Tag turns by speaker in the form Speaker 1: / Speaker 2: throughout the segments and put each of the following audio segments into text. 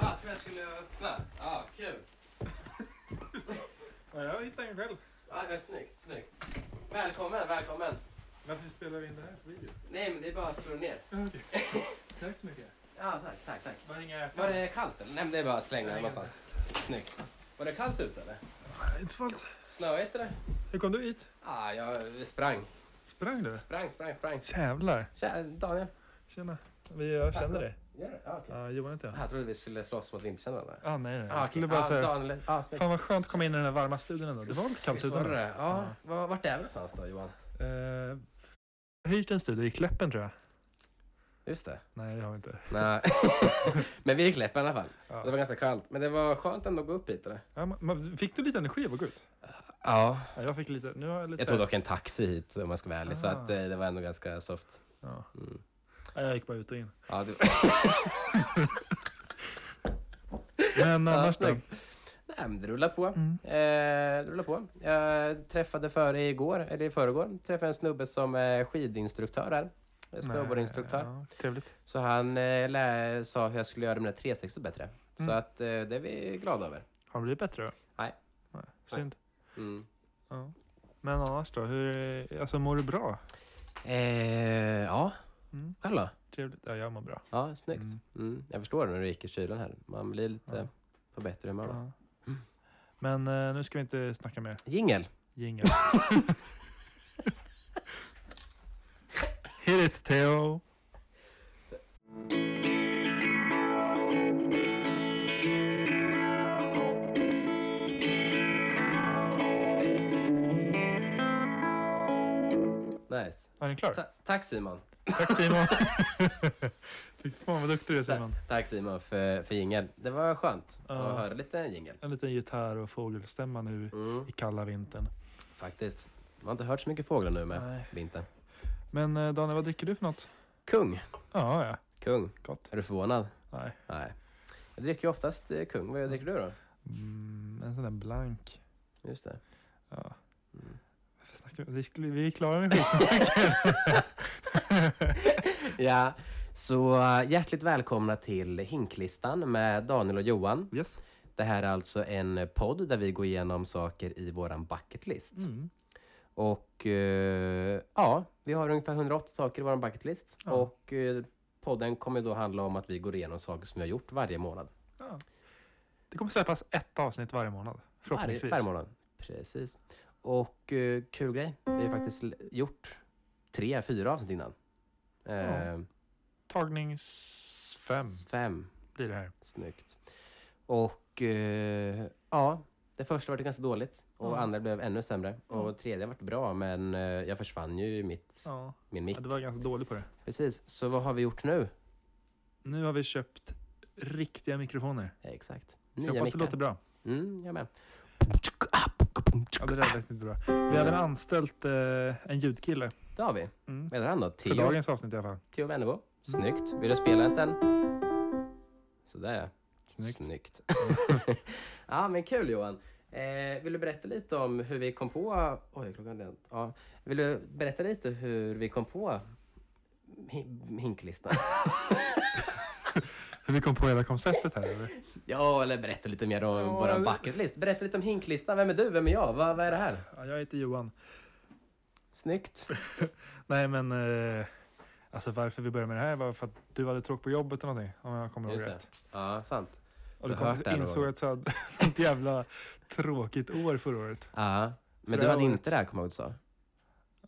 Speaker 1: Ah, skulle öppna. Ja, kul.
Speaker 2: Ja, jag hittade en själv.
Speaker 1: Ja, Ah, det var snyggt, snyggt. Välkommen, välkommen.
Speaker 2: Varför spelar vi in det här på video?
Speaker 1: Nej, men det är bara att slå ner.
Speaker 2: Okej. Tack så mycket.
Speaker 1: Ja, tack, tack, tack.
Speaker 2: Var hänger jag?
Speaker 1: Var det kallt eller? Nej, men det är bara att slänga den någonstans. Snyggt. Var det kallt ute eller?
Speaker 2: Inte fallet.
Speaker 1: Snöigt eller?
Speaker 2: Hur kom du hit?
Speaker 1: Ja, Ah, jag sprang.
Speaker 2: Sprang du?
Speaker 1: Sprang, sprang, sprang.
Speaker 2: Jävlar.
Speaker 1: Tja, Daniel.
Speaker 2: Tjena. Vi, jag känner dig.
Speaker 1: Gör det? Ja, okej.
Speaker 2: Ja, Johan heter jag.
Speaker 1: Jag trodde vi skulle slåss mot vinterkännarna.
Speaker 2: Ah, nej, nej.
Speaker 1: Ah,
Speaker 2: Jag skulle bara säga...
Speaker 1: Daniel. Ja, snyggt.
Speaker 2: Fan vad skönt att komma in i den här varma studion ändå. Det var inte kallt
Speaker 1: Visst var
Speaker 2: ute.
Speaker 1: det det? Ja. var- Vart är vi någonstans då, Johan?
Speaker 2: Eh, jag har hyrt en studio i Kläppen tror jag.
Speaker 1: Just det.
Speaker 2: Nej, jag har inte.
Speaker 1: Nej. men vi gick läpp i alla fall.
Speaker 2: Ja.
Speaker 1: Det var ganska kallt. Men det var skönt ändå att gå upp hit eller?
Speaker 2: Ja, man- man, fick du lite energi av att gå ut?
Speaker 1: Ja.
Speaker 2: Ja, jag fick lite. Nu har jag lite...
Speaker 1: Jag tog dock en taxi hit om jag ska vara ärlig, så
Speaker 2: Ah.
Speaker 1: att, eh, det var ändå ganska soft.
Speaker 2: Ja.
Speaker 1: Mm.
Speaker 2: Ja, jag gick bara ut och in.
Speaker 1: Ja, det...
Speaker 2: Men annars då?
Speaker 1: snyggt. Nej, men det rullar på. Eh, det rullar på. Jag träffade före igår, eller i förrgår, träffade en snubbe som är skidinstruktör här. Eh, Snowboardinstruktör.
Speaker 2: Nej, ja, trevligt.
Speaker 1: Så han eh, lä- sa hur jag skulle göra mina 360 bättre. Så
Speaker 2: Mm.
Speaker 1: att eh, det är vi glada över.
Speaker 2: Har det blivit bättre då?
Speaker 1: Nej.
Speaker 2: Nej, synd.
Speaker 1: Mm.
Speaker 2: Ja. Men annars då? Hur, alltså mår du bra?
Speaker 1: Eh, ja,
Speaker 2: Mm.
Speaker 1: själv då?
Speaker 2: Trevligt. Ja, jag mår bra.
Speaker 1: Ja, snyggt. Mm.
Speaker 2: Mm.
Speaker 1: Jag förstår det när du gick i kylan här. Man blir lite
Speaker 2: Ja.
Speaker 1: på bättre humör. då.
Speaker 2: Ja. Mm. Men eh, nu ska vi inte snacka mer
Speaker 1: Jingel!
Speaker 2: jingel. Hit it Theo!
Speaker 1: Nice.
Speaker 2: Var den klar?
Speaker 1: Ta- tack Simon!
Speaker 2: Tack Simon! Fy fan vad duktig du är Simon.
Speaker 1: Tack Simon för, för jingel. Det var skönt
Speaker 2: Ja.
Speaker 1: att höra lite jingel.
Speaker 2: En liten gitarr och fågelstämma nu
Speaker 1: Mm,
Speaker 2: i kalla vintern.
Speaker 1: faktiskt. Man har inte hört så mycket fåglar nu med
Speaker 2: Nej.
Speaker 1: vintern.
Speaker 2: Men eh, Daniel, vad dricker du för något?
Speaker 1: Kung!
Speaker 2: Ja, ja.
Speaker 1: Kung.
Speaker 2: Gott.
Speaker 1: Är du förvånad?
Speaker 2: Nej.
Speaker 1: Nej. Jag dricker ju oftast eh, kung. Vad dricker du då?
Speaker 2: Mm, en sån där blank.
Speaker 1: Just det.
Speaker 2: Ja.
Speaker 1: Mm.
Speaker 2: Varför snackar vi? Vi skulle- Vi är klara med skitsnacket.
Speaker 1: Ja, så eh, hjärtligt välkomna till Hinklistan med Daniel och Johan.
Speaker 2: yes.
Speaker 1: Det här är alltså en podd där vi går igenom saker i våran bucketlist.
Speaker 2: Mm.
Speaker 1: Och eh, ja, vi har ungefär 180 saker i vår bucketlist.
Speaker 2: Ja.
Speaker 1: Och eh, podden kommer då handla om att vi går igenom saker som vi har gjort varje månad.
Speaker 2: Ja. Det kommer släppas ett avsnitt varje månad.
Speaker 1: Varje,
Speaker 2: Förhoppningsvis.
Speaker 1: varje månad. Precis. Och eh, kul grej, vi har ju faktiskt l- gjort tre, fyra avsnitt innan. Eh,
Speaker 2: Ja. Tagning s- fem
Speaker 1: Fem.
Speaker 2: blir det här.
Speaker 1: Snyggt. Och eh, ja, det första var det ganska dåligt. Och
Speaker 2: Ja.
Speaker 1: andra blev ännu sämre. Och tredje vart bra, men eh, jag försvann ju i mitt,
Speaker 2: Ja.
Speaker 1: min mick.
Speaker 2: ja, du var ganska dålig på det.
Speaker 1: Precis, så vad har vi gjort nu?
Speaker 2: Nu har vi köpt riktiga mikrofoner.
Speaker 1: Ja, Exakt.
Speaker 2: Så
Speaker 1: Nya
Speaker 2: jag hoppas
Speaker 1: mickar.
Speaker 2: det låter bra.
Speaker 1: Mm, jag med.
Speaker 2: Ja, det där lät inte bra. Vi hade anställt eh, en ljudkille.
Speaker 1: Det har vi.
Speaker 2: Mm.
Speaker 1: Vad heter han då?
Speaker 2: För
Speaker 1: Theo,
Speaker 2: dagens avsnitt i alla fall.
Speaker 1: Theo Wennerbo. Snyggt. Vill du spela inte än? Sådär ja.
Speaker 2: Snyggt.
Speaker 1: Snyggt. ja, men kul Johan. Eh, vill du berätta lite om hur vi kom på... Oj, klockan är redan... Ja. Vill du berätta lite hur vi kom på hin- hinklistan?
Speaker 2: Hur vi kom på hela konceptet här. Eller?
Speaker 1: ja, eller berätta lite mer om
Speaker 2: Ja,
Speaker 1: våran
Speaker 2: eller-
Speaker 1: bucketlist. Berätta lite om hinklistan. Vem är du? Vem är jag? Vad, vad är det här?
Speaker 2: Ja, jag heter Johan.
Speaker 1: Snyggt.
Speaker 2: Nej, men... Eh, alltså varför vi började med det här var för att du hade tråk på jobbet eller någonting. Om jag kommer ihåg
Speaker 1: Just
Speaker 2: rätt.
Speaker 1: det. Ja, sant.
Speaker 2: Och du
Speaker 1: Jag har hört det
Speaker 2: kom,
Speaker 1: här
Speaker 2: insåg
Speaker 1: någon
Speaker 2: att jag hade sånt jävla tråkigt år förra året.
Speaker 1: Ja.
Speaker 2: det
Speaker 1: Men du
Speaker 2: här
Speaker 1: hade
Speaker 2: året-
Speaker 1: inte det här, kommer jag ihåg att du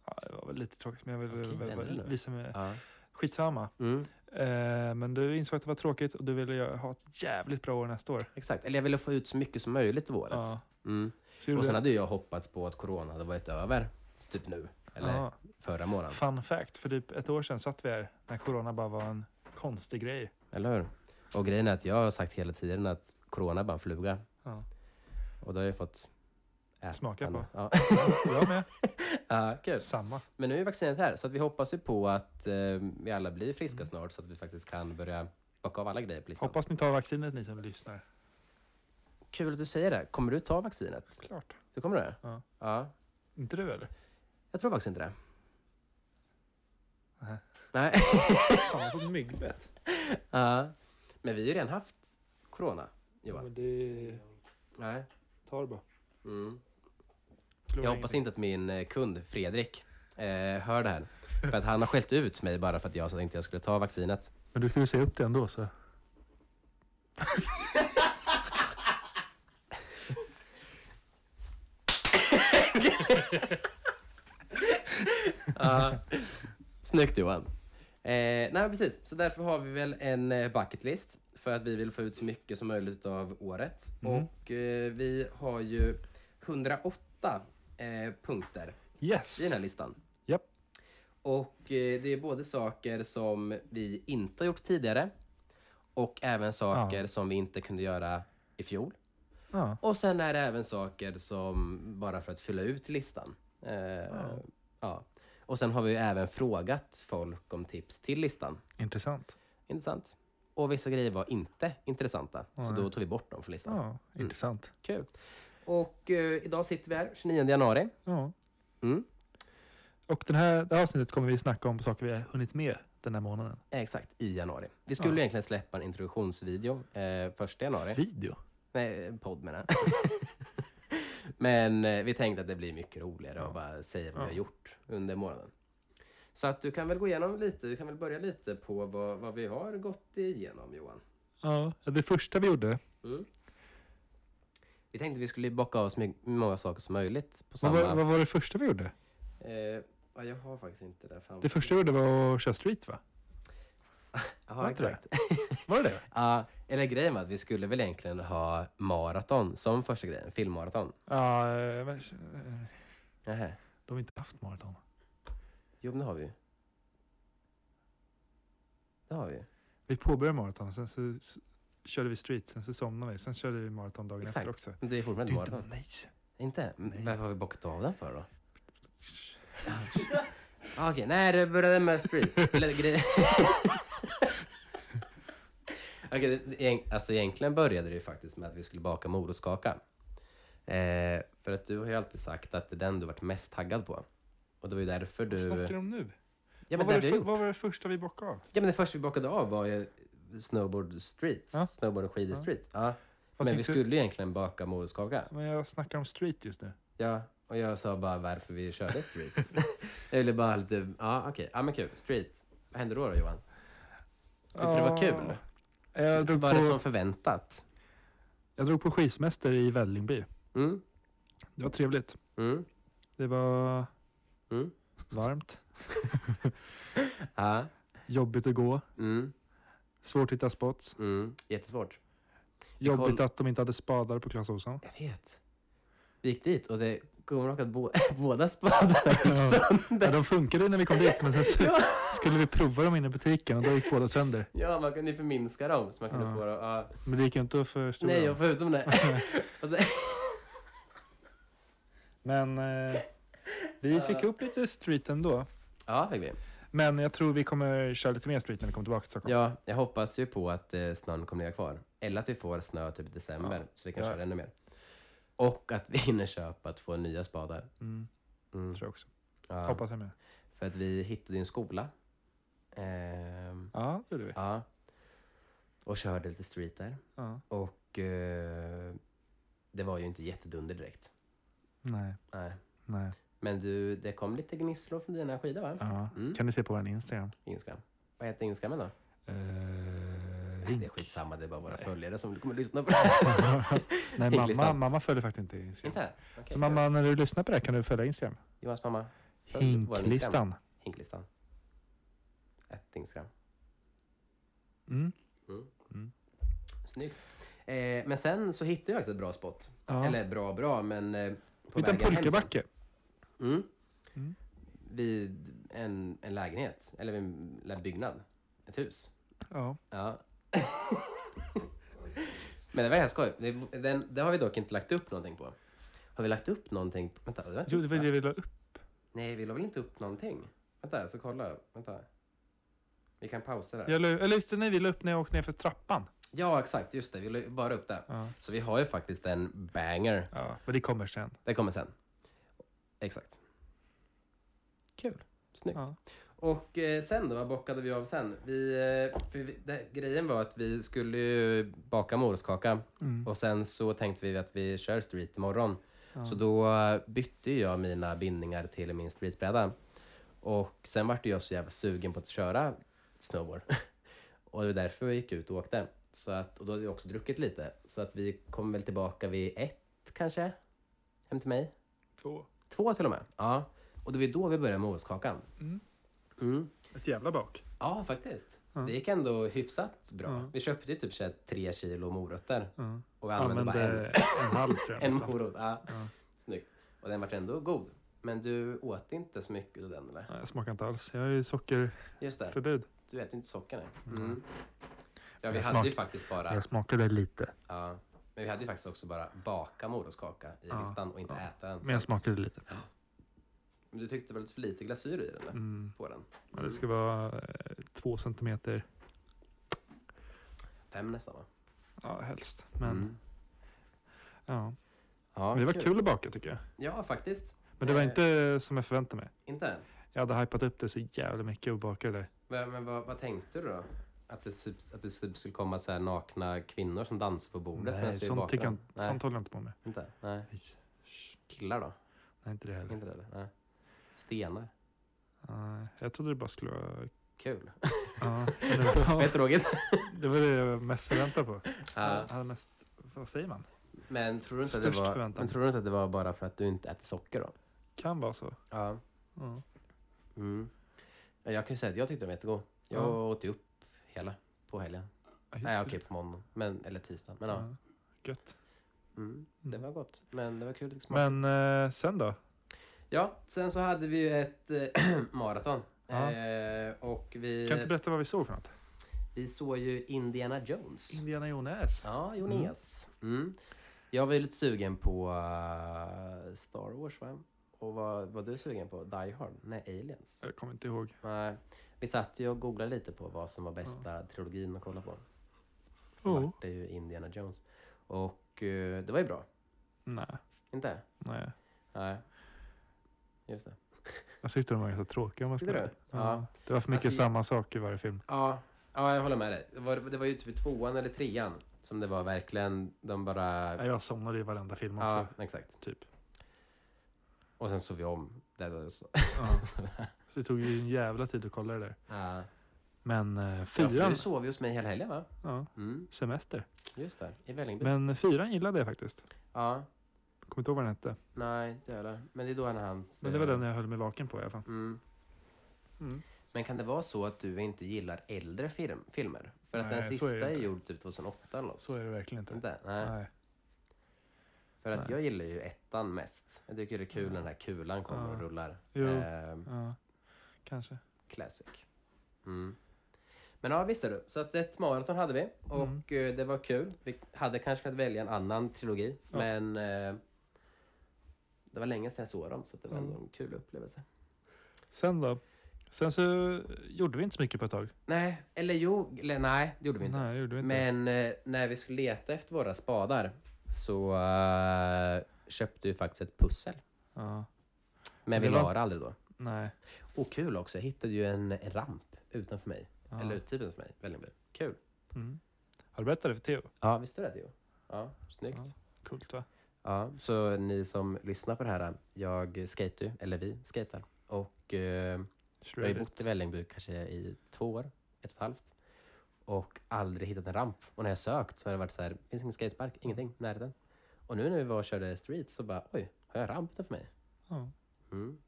Speaker 1: sa?
Speaker 2: Ja, det var väl lite tråkigt, men jag ville väl,
Speaker 1: Okej, vad är det
Speaker 2: väl,
Speaker 1: då?
Speaker 2: visa mig.
Speaker 1: Ja.
Speaker 2: Skitsamma.
Speaker 1: Mm,
Speaker 2: Eh, men du insåg att det var tråkigt och du ville göra- ha ett jävligt bra år nästa år.
Speaker 1: exakt. Eller jag ville få ut så mycket som möjligt av året.
Speaker 2: Ja.
Speaker 1: Mm.
Speaker 2: Så gjorde
Speaker 1: Och sen
Speaker 2: jag-
Speaker 1: hade ju jag hoppats på att corona hade varit över. Typ nu. Eller
Speaker 2: ja.
Speaker 1: förra månaden.
Speaker 2: Fun fact, för typ ett år sedan satt vi här när corona bara var en konstig grej.
Speaker 1: Eller hur? Och grejen är att jag har sagt hela tiden att corona är bara en fluga.
Speaker 2: Ja.
Speaker 1: Och det har jag fått... äta
Speaker 2: Smaka
Speaker 1: den.
Speaker 2: på.
Speaker 1: Ja.
Speaker 2: Jag med.
Speaker 1: ja, kul.
Speaker 2: Samma.
Speaker 1: Men nu är vaccinet här, så att vi hoppas ju på att eh, vi alla blir friska snart så att vi faktiskt kan börja bocka av alla grejer på listan.
Speaker 2: Mm. Hoppas ni tar vaccinet ni som lyssnar.
Speaker 1: Kul att du säger det. Kommer du ta vaccinet?
Speaker 2: Klart.
Speaker 1: Du kommer det?
Speaker 2: Ja.
Speaker 1: ja.
Speaker 2: Inte du eller?
Speaker 1: Jag tror faktiskt inte det.
Speaker 2: Nej.
Speaker 1: Nej.
Speaker 2: Fan, jag har fått myggbett.
Speaker 1: Ja. Men vi har ju redan haft corona.
Speaker 2: Ja,
Speaker 1: Johan?
Speaker 2: men det
Speaker 1: Nej.
Speaker 2: tar det bara.
Speaker 1: Mm.
Speaker 2: Förlora
Speaker 1: Jag hoppas
Speaker 2: ingenting.
Speaker 1: inte att min eh, kund Fredrik eh, hör det här. För att han har skällt ut mig bara för att jag sa att inte jag skulle ta vaccinet.
Speaker 2: Men du skulle se upp det ändå så.
Speaker 1: Uh. Snyggt Johan. Eh, nej men precis, så därför har vi väl en eh, bucket list. För att vi vill få ut så mycket som möjligt av året.
Speaker 2: Mm.
Speaker 1: Och eh, vi har ju 108 eh, punkter i
Speaker 2: Yes!
Speaker 1: den här listan.
Speaker 2: Japp.
Speaker 1: Och eh, det är både saker som vi inte har gjort tidigare och även saker som vi inte kunde göra i fjol.
Speaker 2: Ja.
Speaker 1: Och sen är det även saker som bara för att fylla ut listan. Eh, ja. Och sen har vi ju även frågat folk om tips till listan.
Speaker 2: Intressant.
Speaker 1: Intressant. Och vissa grejer var inte intressanta, så
Speaker 2: Nej.
Speaker 1: då tog vi bort dem från listan.
Speaker 2: Ja, intressant.
Speaker 1: Kul. Och eh, idag sitter vi här 29 januari.
Speaker 2: Ja.
Speaker 1: Mm.
Speaker 2: Och den här, det här avsnittet kommer vi snacka om saker vi har hunnit med den här månaden.
Speaker 1: Exakt, i januari. Vi skulle
Speaker 2: Ja.
Speaker 1: egentligen släppa en introduktionsvideo eh, första januari.
Speaker 2: Video.
Speaker 1: Nej, eh, podd menar jag. Men eh, vi tänkte att det blir mycket roligare att
Speaker 2: Ja.
Speaker 1: bara säga vad
Speaker 2: Ja.
Speaker 1: vi har gjort under månaden. Så att du kan väl gå igenom lite, du kan väl börja lite på vad, vad vi har gått igenom Johan.
Speaker 2: Ja, det första vi gjorde,
Speaker 1: Vi tänkte vi skulle bocka av så my- många saker som möjligt på
Speaker 2: vad
Speaker 1: samma...
Speaker 2: var, vad var det första vi gjorde?
Speaker 1: Eh, ja, jag har faktiskt inte det framför
Speaker 2: Det första vi gjorde var att köra street va?
Speaker 1: Jaha,
Speaker 2: var inte det?
Speaker 1: exakt.
Speaker 2: Var det det?
Speaker 1: Ja, eller grejen var att vi skulle väl egentligen ha maraton som första grejen, filmmaraton.
Speaker 2: Ja, eh, men, eh,
Speaker 1: Nähä.
Speaker 2: de har inte haft maraton.
Speaker 1: Jo, men det har vi ju. Det har vi ju.
Speaker 2: Vi påbörjade maraton, sen så s- körde vi street, sen så somnade vi, sen körde vi maraton dagen
Speaker 1: Exakt.
Speaker 2: efter också.
Speaker 1: Men det är
Speaker 2: Det
Speaker 1: fortfarande
Speaker 2: är
Speaker 1: maraton.
Speaker 2: inte, nej.
Speaker 1: Inte? Men
Speaker 2: Nej.
Speaker 1: Varför har vi bockat av den för då? Ah, Okej, nej det började med street. Eller grej- Okej, det- det- egent- alltså egentligen började det ju faktiskt med att vi skulle baka morotskaka. Eh, för att du har ju alltid sagt att det är den du varit mest taggad på. Och det var ju därför du...
Speaker 2: Vad snackar du om nu?
Speaker 1: Ja men,
Speaker 2: vad, var
Speaker 1: det
Speaker 2: det
Speaker 1: vi
Speaker 2: för,
Speaker 1: gjort.
Speaker 2: vad var det första vi bockade av?
Speaker 1: ja men det första vi bakade av var ju snowboard street.
Speaker 2: Ja.
Speaker 1: Snowboard och skidor
Speaker 2: Ja.
Speaker 1: street. Ja.
Speaker 2: Vad
Speaker 1: Men vi
Speaker 2: tänkte-
Speaker 1: skulle ju egentligen baka morotskaka.
Speaker 2: Men jag snackar om street just nu.
Speaker 1: Ja, och jag sa bara varför vi körde street. jag ville bara ha lite, ja okej, ja men kul, street. Vad hände då, då Johan? Tyckte det var kul?
Speaker 2: Jag drog,
Speaker 1: var det som
Speaker 2: på,
Speaker 1: förväntat?
Speaker 2: jag drog på skidsemester i Vällingby.
Speaker 1: Mm,
Speaker 2: Det var trevligt.
Speaker 1: mm,
Speaker 2: Det var
Speaker 1: mm.
Speaker 2: varmt,
Speaker 1: Ja,
Speaker 2: jobbigt att gå,
Speaker 1: mm,
Speaker 2: svårt att hitta spots,
Speaker 1: mm. Jättesvårt.
Speaker 2: jobbigt
Speaker 1: koll-
Speaker 2: att de inte hade spadar på Clas Ohlson.
Speaker 1: Jag vet. Vi gick dit och det kom ihåg att bo, båda spadarna gick
Speaker 2: Ja,
Speaker 1: sönder.
Speaker 2: de funkade när vi kom dit, men sen så
Speaker 1: Ja.
Speaker 2: skulle vi prova dem inne i butiken och då gick båda sönder.
Speaker 1: Ja, man kunde ju förminska dem så man kunde
Speaker 2: Ja.
Speaker 1: få dem, ja.
Speaker 2: Men det gick ju inte att förstora
Speaker 1: Nej, Alltså-
Speaker 2: dem.
Speaker 1: och förutom det. och så,
Speaker 2: Men eh, vi fick
Speaker 1: Ja.
Speaker 2: upp lite street ändå.
Speaker 1: ja, fick vi.
Speaker 2: Men jag tror vi kommer köra lite mer street när vi kommer tillbaka till Stockholm.
Speaker 1: Ja, jag hoppas ju på att eh, snön kommer ligga kvar. Eller att vi får snö typ i december,
Speaker 2: Ja.
Speaker 1: så vi kan
Speaker 2: Ja.
Speaker 1: köra ännu mer. Och att vi hinner köpa två nya spadar.
Speaker 2: Mm,
Speaker 1: Mm.
Speaker 2: tror jag också.
Speaker 1: Ja,
Speaker 2: Hoppas jag med.
Speaker 1: för att vi hittade ju en skola. Ehm,
Speaker 2: Ja, det gjorde vi.
Speaker 1: ja. Och körde lite street där.
Speaker 2: Ja.
Speaker 1: Och eh, det var ju inte jättedunder direkt.
Speaker 2: Nej,
Speaker 1: Nej.
Speaker 2: nej.
Speaker 1: Men du, det kom lite gnisslor från dina skidor va?
Speaker 2: Ja.
Speaker 1: Mm.
Speaker 2: Kan ni se på vår Instagram?
Speaker 1: Instagram. Vad heter Instagramen då?
Speaker 2: Eh,
Speaker 1: Det är
Speaker 2: Ink.
Speaker 1: skitsamma, det är bara våra
Speaker 2: Nej.
Speaker 1: följare som kommer lyssna på det här.
Speaker 2: nej, mamma,
Speaker 1: Hinklistan.
Speaker 2: mamma följer faktiskt inte Instagram.
Speaker 1: Inte? Okej.
Speaker 2: Så mamma, när du lyssnar på det här kan du följa Instagram.
Speaker 1: Johans mamma. Följ vår Instagram.
Speaker 2: Hinklistan.
Speaker 1: Hinklistan. Ett Instagram.
Speaker 2: Mm.
Speaker 1: Snyggt. Eh, men sen så hittade jag faktiskt ett bra spot.
Speaker 2: Ja.
Speaker 1: Eller bra bra, men eh, på
Speaker 2: Utan
Speaker 1: vägen hem sen.
Speaker 2: pulkabacke.
Speaker 1: Mm.
Speaker 2: Mm.
Speaker 1: Vid en, en lägenhet, eller vid en lä- byggnad. Ett hus.
Speaker 2: Ja.
Speaker 1: Ja. men det var ganska skoj. Det, den, det har vi dock inte lagt upp någonting på. Har vi lagt upp någonting? Vänta, det var inte
Speaker 2: Jo, det var
Speaker 1: upp,
Speaker 2: det
Speaker 1: va?
Speaker 2: vi la upp.
Speaker 1: Nej, vi la väl inte upp någonting? Vänta, så kolla. Vänta. Vi kan pausa där.
Speaker 2: Jag la, eller just det, nej, vi la upp när jag åkte ner för trappan.
Speaker 1: Ja, exakt. Just det. Vi la ju bara upp det.
Speaker 2: Ja.
Speaker 1: Så vi har ju faktiskt en banger.
Speaker 2: ja. Men det kommer sen.
Speaker 1: Det kommer sen. Exakt. Kul. Snyggt.
Speaker 2: Ja.
Speaker 1: Och eh, sen då, vad bockade vi av sen? Vi, eh, för vi, det, grejen var att vi skulle ju baka morotskaka
Speaker 2: Mm.
Speaker 1: och sen så tänkte vi att vi kör street imorgon.
Speaker 2: Ja.
Speaker 1: Så då eh, bytte ju jag mina bindningar till min streetbräda. Och sen vart ju jag så jävla sugen på att köra snowboard. och det var därför jag gick ut och åkte. Så att, och då hade jag också druckit lite. Så att vi kom väl tillbaka vid ett kanske, hem till mig.
Speaker 2: Två.
Speaker 1: Två till och med. Ja. Och det var ju då vi började med morotskakan.
Speaker 2: Mm.
Speaker 1: Mm.
Speaker 2: Ett jävla bak.
Speaker 1: Ja, faktiskt.
Speaker 2: Ja.
Speaker 1: Det gick ändå hyfsat bra.
Speaker 2: Ja.
Speaker 1: Vi köpte ju typ så här tre kilo morötter
Speaker 2: Ja.
Speaker 1: och vi använde
Speaker 2: Använde
Speaker 1: bara en,
Speaker 2: en halv tror jag.
Speaker 1: en
Speaker 2: nästan.
Speaker 1: morot. Ja.
Speaker 2: Ja.
Speaker 1: Snyggt. Och den vart ändå god. Men du åt inte så mycket av den eller?
Speaker 2: Nej, jag smakar inte alls. Jag har ju sockerförbud.
Speaker 1: Just det, du äter ju inte socker nej. Mm. Ja, vi
Speaker 2: Jag
Speaker 1: hade ju
Speaker 2: smak-
Speaker 1: faktiskt bara...
Speaker 2: smakade lite.
Speaker 1: Ja, men vi hade ju faktiskt också bara baka morotskaka i
Speaker 2: Ja,
Speaker 1: listan och inte
Speaker 2: ja.
Speaker 1: äta den.
Speaker 2: Men jag
Speaker 1: Så-
Speaker 2: smakade lite.
Speaker 1: Men Du tyckte väl för lite glasyr i den? Eller?
Speaker 2: Mm.
Speaker 1: På den?
Speaker 2: Ja, det ska vara eh, två centimeter.
Speaker 1: Fem nästan va?
Speaker 2: Ja, helst. Men
Speaker 1: Mm.
Speaker 2: ja.
Speaker 1: Ja,
Speaker 2: Men det var kul att baka tycker jag.
Speaker 1: Ja, faktiskt.
Speaker 2: Men det var
Speaker 1: Eh.
Speaker 2: inte som jag förväntade mig.
Speaker 1: Inte?
Speaker 2: Jag hade hypat upp det så jävla mycket och bakade det.
Speaker 1: Men, men vad, vad tänkte du då? Att det, typ- att det typ skulle komma så här nakna kvinnor som dansar på bordet? medan vi
Speaker 2: Nej,
Speaker 1: Oh, är
Speaker 2: sånt,
Speaker 1: bakgrund?
Speaker 2: tycker jag, inte-
Speaker 1: Nej,
Speaker 2: sånt håller jag inte på med.
Speaker 1: inte? Nej. Mm.
Speaker 2: Nej,
Speaker 1: Killar då?
Speaker 2: nej inte det heller.
Speaker 1: Inte det? eller? Nej. Stenar?
Speaker 2: Nej, jag trodde det bara skulle vara...
Speaker 1: Kul.
Speaker 2: Ja, eller-
Speaker 1: Fett tråkigt.
Speaker 2: det var det jag mest väntade på.
Speaker 1: Ja.
Speaker 2: Jag hade mest, vad säger man?
Speaker 1: Men, tror du inte att det
Speaker 2: Störst
Speaker 1: var,
Speaker 2: förväntan.
Speaker 1: men tror du inte att det var bara för att du inte äter socker då?
Speaker 2: Kan vara så.
Speaker 1: Ja.
Speaker 2: Ja.
Speaker 1: Mm. Ja, Jag kan ju säga att jag tyckte den var jättegod. Jag
Speaker 2: Ja.
Speaker 1: åt ju upp hela på helgen.
Speaker 2: Ja, just
Speaker 1: Nej,
Speaker 2: det.
Speaker 1: okej på måndag. Men, eller tisdag. Men ja.
Speaker 2: Ja, Gött.
Speaker 1: Mm. Det var gott. Men det var kul. att smaka.
Speaker 2: Men eh, sen då?
Speaker 1: Ja, sen så hade vi ju ett eh, maraton.
Speaker 2: Ja.
Speaker 1: Eh, och vi,
Speaker 2: Kan du inte berätta vad vi såg för något?
Speaker 1: vi såg ju Indiana Jones.
Speaker 2: Indiana Jones.
Speaker 1: ja, Jonas. Mm. Jag var ju lite sugen på eh, Star Wars, va? Och vad var du sugen på? Die Hard? Nej, Aliens?
Speaker 2: Jag kommer inte ihåg.
Speaker 1: Nej. Vi satt ju och googlade lite på vad som var bästa trilogin att kolla på. Då
Speaker 2: Oh.
Speaker 1: vart Det är ju Indiana Jones. Och eh, det var ju bra.
Speaker 2: Nej,
Speaker 1: Inte?
Speaker 2: nej.
Speaker 1: Nej. Just det.
Speaker 2: Jag tyckte de var ganska tråkiga om man ska
Speaker 1: Tyckte
Speaker 2: vara
Speaker 1: du?
Speaker 2: Ja.
Speaker 1: Ja.
Speaker 2: Det var för mycket
Speaker 1: Alltså,
Speaker 2: samma sak i varje film.
Speaker 1: Ja, ja jag håller med dig. Det var, det var ju typ i tvåan eller trean som det var verkligen, de bara...
Speaker 2: Ja, Jag somnade i varenda film också.
Speaker 1: ja, exakt.
Speaker 2: Typ.
Speaker 1: Och sen såg vi om. Det var ju så.
Speaker 2: Ja. Så det tog ju en jävla tid att kolla det där.
Speaker 1: Ja.
Speaker 2: Men eh,
Speaker 1: Ja, för
Speaker 2: fyran,
Speaker 1: du sov ju hos mig hela helgen va?
Speaker 2: ja,
Speaker 1: Mm,
Speaker 2: semester.
Speaker 1: just det. I Vällingby.
Speaker 2: Men eh, fyran gillade jag faktiskt.
Speaker 1: Ja,
Speaker 2: Kommer inte ihåg vad den hette.
Speaker 1: nej, det är det. Men det är då han hans...
Speaker 2: Men det var
Speaker 1: eh,
Speaker 2: den jag höll mig vaken på i alla fall.
Speaker 1: Mm.
Speaker 2: Mm.
Speaker 1: Men kan det vara så att du inte gillar äldre film, filmer? För att den
Speaker 2: Nej, så är
Speaker 1: sista
Speaker 2: det
Speaker 1: är,
Speaker 2: inte.
Speaker 1: gjord typ 2008 eller något.
Speaker 2: Så är det verkligen inte.
Speaker 1: Inte? Nej.
Speaker 2: Nej.
Speaker 1: För att
Speaker 2: Nej. Mm.
Speaker 1: jag gillar ju ettan mest. Jag tycker det är kul när den här kulan kommer
Speaker 2: Ja.
Speaker 1: och rullar.
Speaker 2: Jo.
Speaker 1: Ehm,
Speaker 2: Ja, kanske.
Speaker 1: Classic. Mm. Men ja, visst är du. Så att ett maraton hade vi och
Speaker 2: Mm.
Speaker 1: eh, det var kul. Vi hade kanske kunnat välja en annan trilogi,
Speaker 2: Ja.
Speaker 1: men eh, det var länge sedan jag såg dem så att det var
Speaker 2: Mm.
Speaker 1: ändå en kul upplevelse.
Speaker 2: Sen då? Sen så gjorde vi inte så mycket på ett tag.
Speaker 1: Nej, eller jo, eller, nej, det gjorde vi inte.
Speaker 2: Nej, det gjorde vi inte.
Speaker 1: Men eh, när vi skulle leta efter våra spadar så eh, köpte vi faktiskt ett pussel.
Speaker 2: Ja,
Speaker 1: Men vi
Speaker 2: Det var-
Speaker 1: la det aldrig då.
Speaker 2: nej.
Speaker 1: Och kul också, jag hittade ju en ramp utanför mig.
Speaker 2: Ja.
Speaker 1: Eller typ utanför mig, Vällingby. Kul.
Speaker 2: Mm. Har du berättat det för Theo?
Speaker 1: Ja, visste du det Theo? Ja, snyggt.
Speaker 2: Ja. Coolt va?
Speaker 1: Ja, så ni som lyssnar på det här, jag skejtar ju, eller vi skejtar. Och eh, jag har ju bott i Vällingby kanske i två år, ett och ett halvt. Och aldrig hittat en ramp. Och när jag sökt så har det varit så här, finns ingen skatepark, ingenting i närheten. Och nu när vi var och körde street så bara, oj, har jag ramp utanför mig?
Speaker 2: Ja,
Speaker 1: Mm.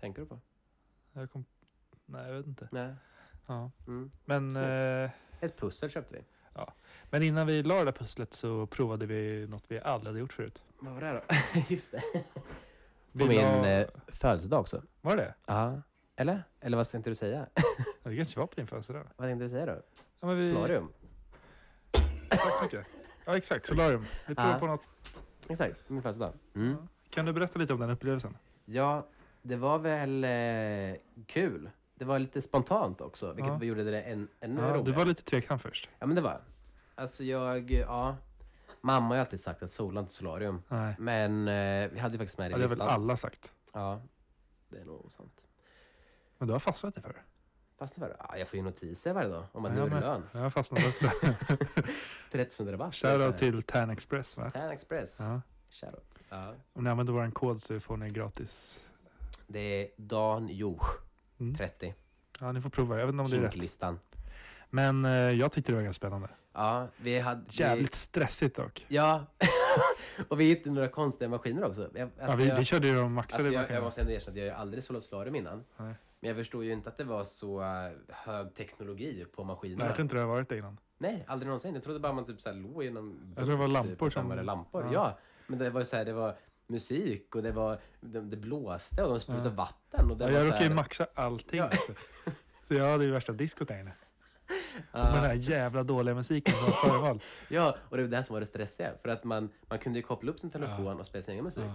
Speaker 1: Tänker du på?
Speaker 2: jag kom... Nej, jag vet inte.
Speaker 1: Nej.
Speaker 2: Ja.
Speaker 1: Mm.
Speaker 2: Men,
Speaker 1: Snyggt.
Speaker 2: eh,
Speaker 1: Ett pussel köpte vi.
Speaker 2: men innan vi la det där pusslet så provade vi något vi aldrig hade gjort förut.
Speaker 1: Vad var det då? Just det.
Speaker 2: Vi
Speaker 1: På min
Speaker 2: la-
Speaker 1: eh, födelsedag också.
Speaker 2: Var det?
Speaker 1: Ja. Eller? Eller vad tänkte du säga?
Speaker 2: Ja, Det kanske var på din födelsedag?
Speaker 1: vad tänkte du säga då?
Speaker 2: Ja, men vi...
Speaker 1: Solarium?
Speaker 2: Tack så mycket. Ja, exakt. Solarium. Vi provar
Speaker 1: Ja.
Speaker 2: på något.
Speaker 1: Exakt, min födelsedag. Mm.
Speaker 2: Ja. Kan du berätta lite om den upplevelsen?
Speaker 1: Ja, det var väl eh, kul. Det var lite spontant också, vilket
Speaker 2: Ja.
Speaker 1: vi gjorde det än, ännu
Speaker 2: Ja, du
Speaker 1: roligare.
Speaker 2: var lite tveksam först.
Speaker 1: Ja, men det var Alltså jag, ja. Mamma har ju alltid sagt att sola inte solarium.
Speaker 2: Nej.
Speaker 1: Men eh, vi hade ju faktiskt med
Speaker 2: Ja, det
Speaker 1: det i
Speaker 2: har väl
Speaker 1: listan.
Speaker 2: alla sagt.
Speaker 1: Ja. Det är nog osant.
Speaker 2: Men du har fastnat i för det.
Speaker 1: Fastnar för det? Ja, jag får ju notiser varje dag om att
Speaker 2: Ja,
Speaker 1: nu är det
Speaker 2: men-
Speaker 1: lön.
Speaker 2: Jag har fastnat också.
Speaker 1: 30 rabatt.
Speaker 2: Shoutout till Tan Express va?
Speaker 1: Tan Express.
Speaker 2: Ja.
Speaker 1: Shoutout. Ja.
Speaker 2: Om ni använder vår kod så får ni gratis.
Speaker 1: Det är Dan Joch,
Speaker 2: Mm.
Speaker 1: 30.
Speaker 2: Ja, ni får prova. Jag vet inte om det är rätt.
Speaker 1: Hinklistan.
Speaker 2: Men eh, jag tyckte det var ganska spännande.
Speaker 1: Ja, vi hade...
Speaker 2: Jävligt stressigt dock.
Speaker 1: Vi, ja. och vi hittade några konstiga maskiner också. Jag,
Speaker 2: ja,
Speaker 1: alltså,
Speaker 2: vi,
Speaker 1: jag,
Speaker 2: vi körde ju de maxade
Speaker 1: alltså, jag,
Speaker 2: maskinerna.
Speaker 1: jag måste ändå erkänna att jag har ju aldrig sålt solarium innan.
Speaker 2: Nej.
Speaker 1: Men jag förstod ju inte att det var så eh, hög teknologi på
Speaker 2: Nej,
Speaker 1: maskinerna.
Speaker 2: jag tror inte det har varit det innan.
Speaker 1: Nej, aldrig någonsin. Jag trodde bara man typ så här låg genom...
Speaker 2: Eller det var
Speaker 1: bok,
Speaker 2: lampor
Speaker 1: typ, och sen
Speaker 2: som-
Speaker 1: var det lampor. Ja.
Speaker 2: ja.
Speaker 1: men det var ju så här, det var musik och det var... Det, det blåste och de sprutade
Speaker 2: Ja.
Speaker 1: vatten. Och det
Speaker 2: Ja,
Speaker 1: var
Speaker 2: jag
Speaker 1: så
Speaker 2: råkade ju
Speaker 1: här-
Speaker 2: maxa allting
Speaker 1: Ja.
Speaker 2: också. Så jag hade ju värsta diskot där inne.
Speaker 1: Ja.
Speaker 2: Med den här jävla dåliga musiken från förval.
Speaker 1: Ja, och det var det som var det stressiga. För att man, man kunde ju koppla upp sin telefon och spela sin egen musik.
Speaker 2: Ja.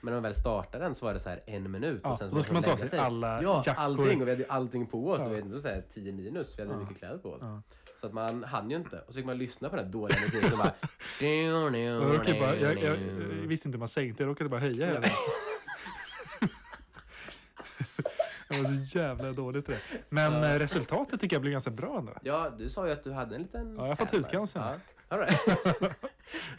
Speaker 1: Men när man väl startade den så var det så här en minut.
Speaker 2: Ja,
Speaker 1: och sen
Speaker 2: och då
Speaker 1: så
Speaker 2: ska man
Speaker 1: lägga
Speaker 2: ta sig alla
Speaker 1: Ja,
Speaker 2: jackor.
Speaker 1: allting. Och vi hade ju allting på oss.
Speaker 2: Ja.
Speaker 1: Det var ju så här 10 minus, för vi hade
Speaker 2: Ja.
Speaker 1: mycket kläder på oss.
Speaker 2: Ja.
Speaker 1: Så att man hann ju inte. Och så fick man lyssna på den här dåliga musiken och bara...
Speaker 2: Och Jag, råkade bara, jag, jag, jag visste inte hur man sänkte, jag råkade bara höja hela. Det var så jävla dåligt det där. Men eh, resultatet tycker jag blev ganska bra ändå.
Speaker 1: Ja, du sa ju att du hade en liten...
Speaker 2: Ja, jag har fått
Speaker 1: tävlan.
Speaker 2: hudcancer nu.
Speaker 1: Ja, all right.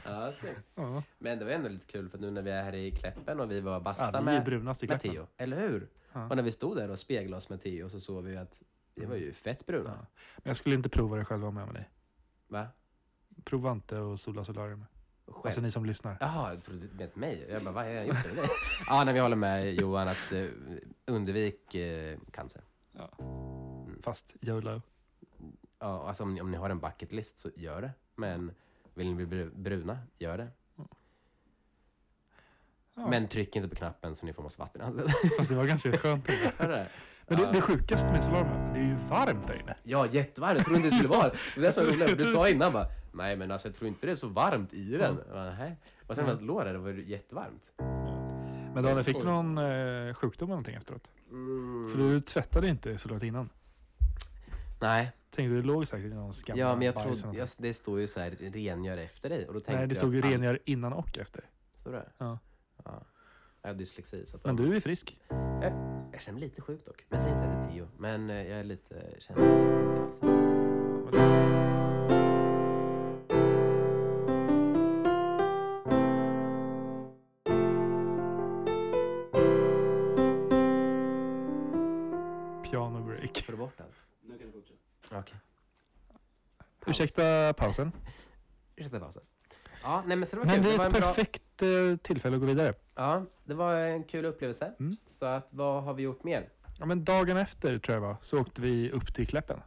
Speaker 1: ja, snyggt.
Speaker 2: Ja,
Speaker 1: Men det var ändå lite kul för nu när vi är här i Kläppen och vi var och
Speaker 2: ja,
Speaker 1: basta
Speaker 2: vi är
Speaker 1: med...
Speaker 2: brunast i
Speaker 1: med
Speaker 2: klacken.
Speaker 1: Theo, eller hur?
Speaker 2: Ja.
Speaker 1: Och när vi stod där och speglade oss med Theo så såg vi ju att vi var ju fett bruna.
Speaker 2: Men jag skulle inte prova det själv om jag var ni.
Speaker 1: Va?
Speaker 2: Prova inte och sola solarium.
Speaker 1: Själv.
Speaker 2: Alltså ni som lyssnar.
Speaker 1: Jaha, jag trodde du menade mig. Jag bara, vad har jag gjort? för dig? ja, nej, vi håller med Johan att eh, undvik eh, cancer.
Speaker 2: Fast YOLO.
Speaker 1: Ja, alltså om ni, om ni har en bucket list så gör det. Men vill ni bli bru- bruna, gör det.
Speaker 2: Ja.
Speaker 1: Men tryck inte på knappen så ni får massa vatten i handen.
Speaker 2: Fast det var ganska skönt.
Speaker 1: Hör du det?
Speaker 2: Men
Speaker 1: Ja.
Speaker 2: det, det sjukaste med solarium, det är ju varmt där inne.
Speaker 1: Ja, jättevarmt. Jag trodde inte det skulle vara. Det var det som var roligt. Du sa innan bara, nej men alltså jag tror inte det är så varmt i den. Jag bara, "Nähä." Och sen när jag låg där, det var ju jättevarmt.
Speaker 2: Men Daniel, fick du
Speaker 1: Oj.
Speaker 2: någon eh, sjukdom eller någonting efteråt?
Speaker 1: Mm.
Speaker 2: För du tvättade inte solariet innan.
Speaker 1: Nej,
Speaker 2: Tänkte du låg säkert i någon skam.
Speaker 1: ja men jag trodde, jag, det står ju så här rengör efter dig. Och då tänkte
Speaker 2: Nej, det
Speaker 1: jag
Speaker 2: stod ju
Speaker 1: att-
Speaker 2: rengör innan och efter.
Speaker 1: Står det?
Speaker 2: Ja.
Speaker 1: ja. Jag har dyslexi. Så att
Speaker 2: Men du är frisk.
Speaker 1: Jag känner mig lite sjuk dock. Men jag säger inte att det är Theo. Men eh, jag är lite, känner mig lite ont i halsen.
Speaker 2: Piano break.
Speaker 1: Får du bort allt?
Speaker 3: Nu kan du fortsätta.
Speaker 1: Okej. Paus.
Speaker 2: Ursäkta pausen.
Speaker 1: Ursäkta pausen. Ja, nej men så det var
Speaker 2: Men
Speaker 1: kul.
Speaker 2: det
Speaker 1: Det
Speaker 2: är
Speaker 1: var
Speaker 2: ett
Speaker 1: en bra,
Speaker 2: perfekt eh, tillfälle att gå vidare.
Speaker 1: ja, det var en kul upplevelse.
Speaker 2: Mm.
Speaker 1: Så att vad har vi gjort mer?
Speaker 2: Ja, men dagen efter tror jag det var, så åkte vi upp till Kläppen.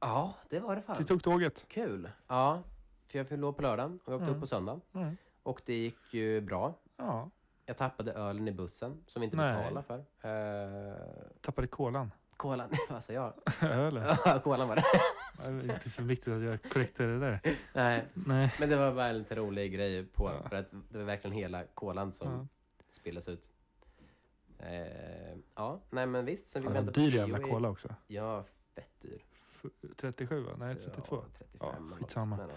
Speaker 1: Ja, det var det
Speaker 2: Vi
Speaker 1: fan.
Speaker 2: tog tåget.
Speaker 1: Kul. Ja, för jag fyllde år på lördagen och jag åkte
Speaker 2: Mm.
Speaker 1: upp på söndagen.
Speaker 2: Mm.
Speaker 1: Och det gick ju bra.
Speaker 2: Ja,
Speaker 1: Jag tappade ölen i bussen som vi inte
Speaker 2: Nej.
Speaker 1: betalade för. Uh,
Speaker 2: tappade kolan.
Speaker 1: kolan, vad sa jag?
Speaker 2: Ölen.
Speaker 1: Ja, kolan var det.
Speaker 2: Det är inte så viktigt att jag korrekterar det där.
Speaker 1: Nej,
Speaker 2: Nej.
Speaker 1: men det var bara en lite rolig grej på
Speaker 2: Ja.
Speaker 1: för att det var verkligen hela kolan som
Speaker 2: Ja.
Speaker 1: spilldes ut. Eh, ja, nej men visst. Sen
Speaker 2: Det
Speaker 1: fick
Speaker 2: var
Speaker 1: vi
Speaker 2: en
Speaker 1: ändå på
Speaker 2: dyr
Speaker 1: Theo
Speaker 2: jävla
Speaker 1: i-
Speaker 2: kola också.
Speaker 1: Ja, fett dyr.
Speaker 2: F- 37 va? Nej, 32.
Speaker 1: Typ, Ja, 35 eller något,
Speaker 2: skitsamma.
Speaker 1: men, ja.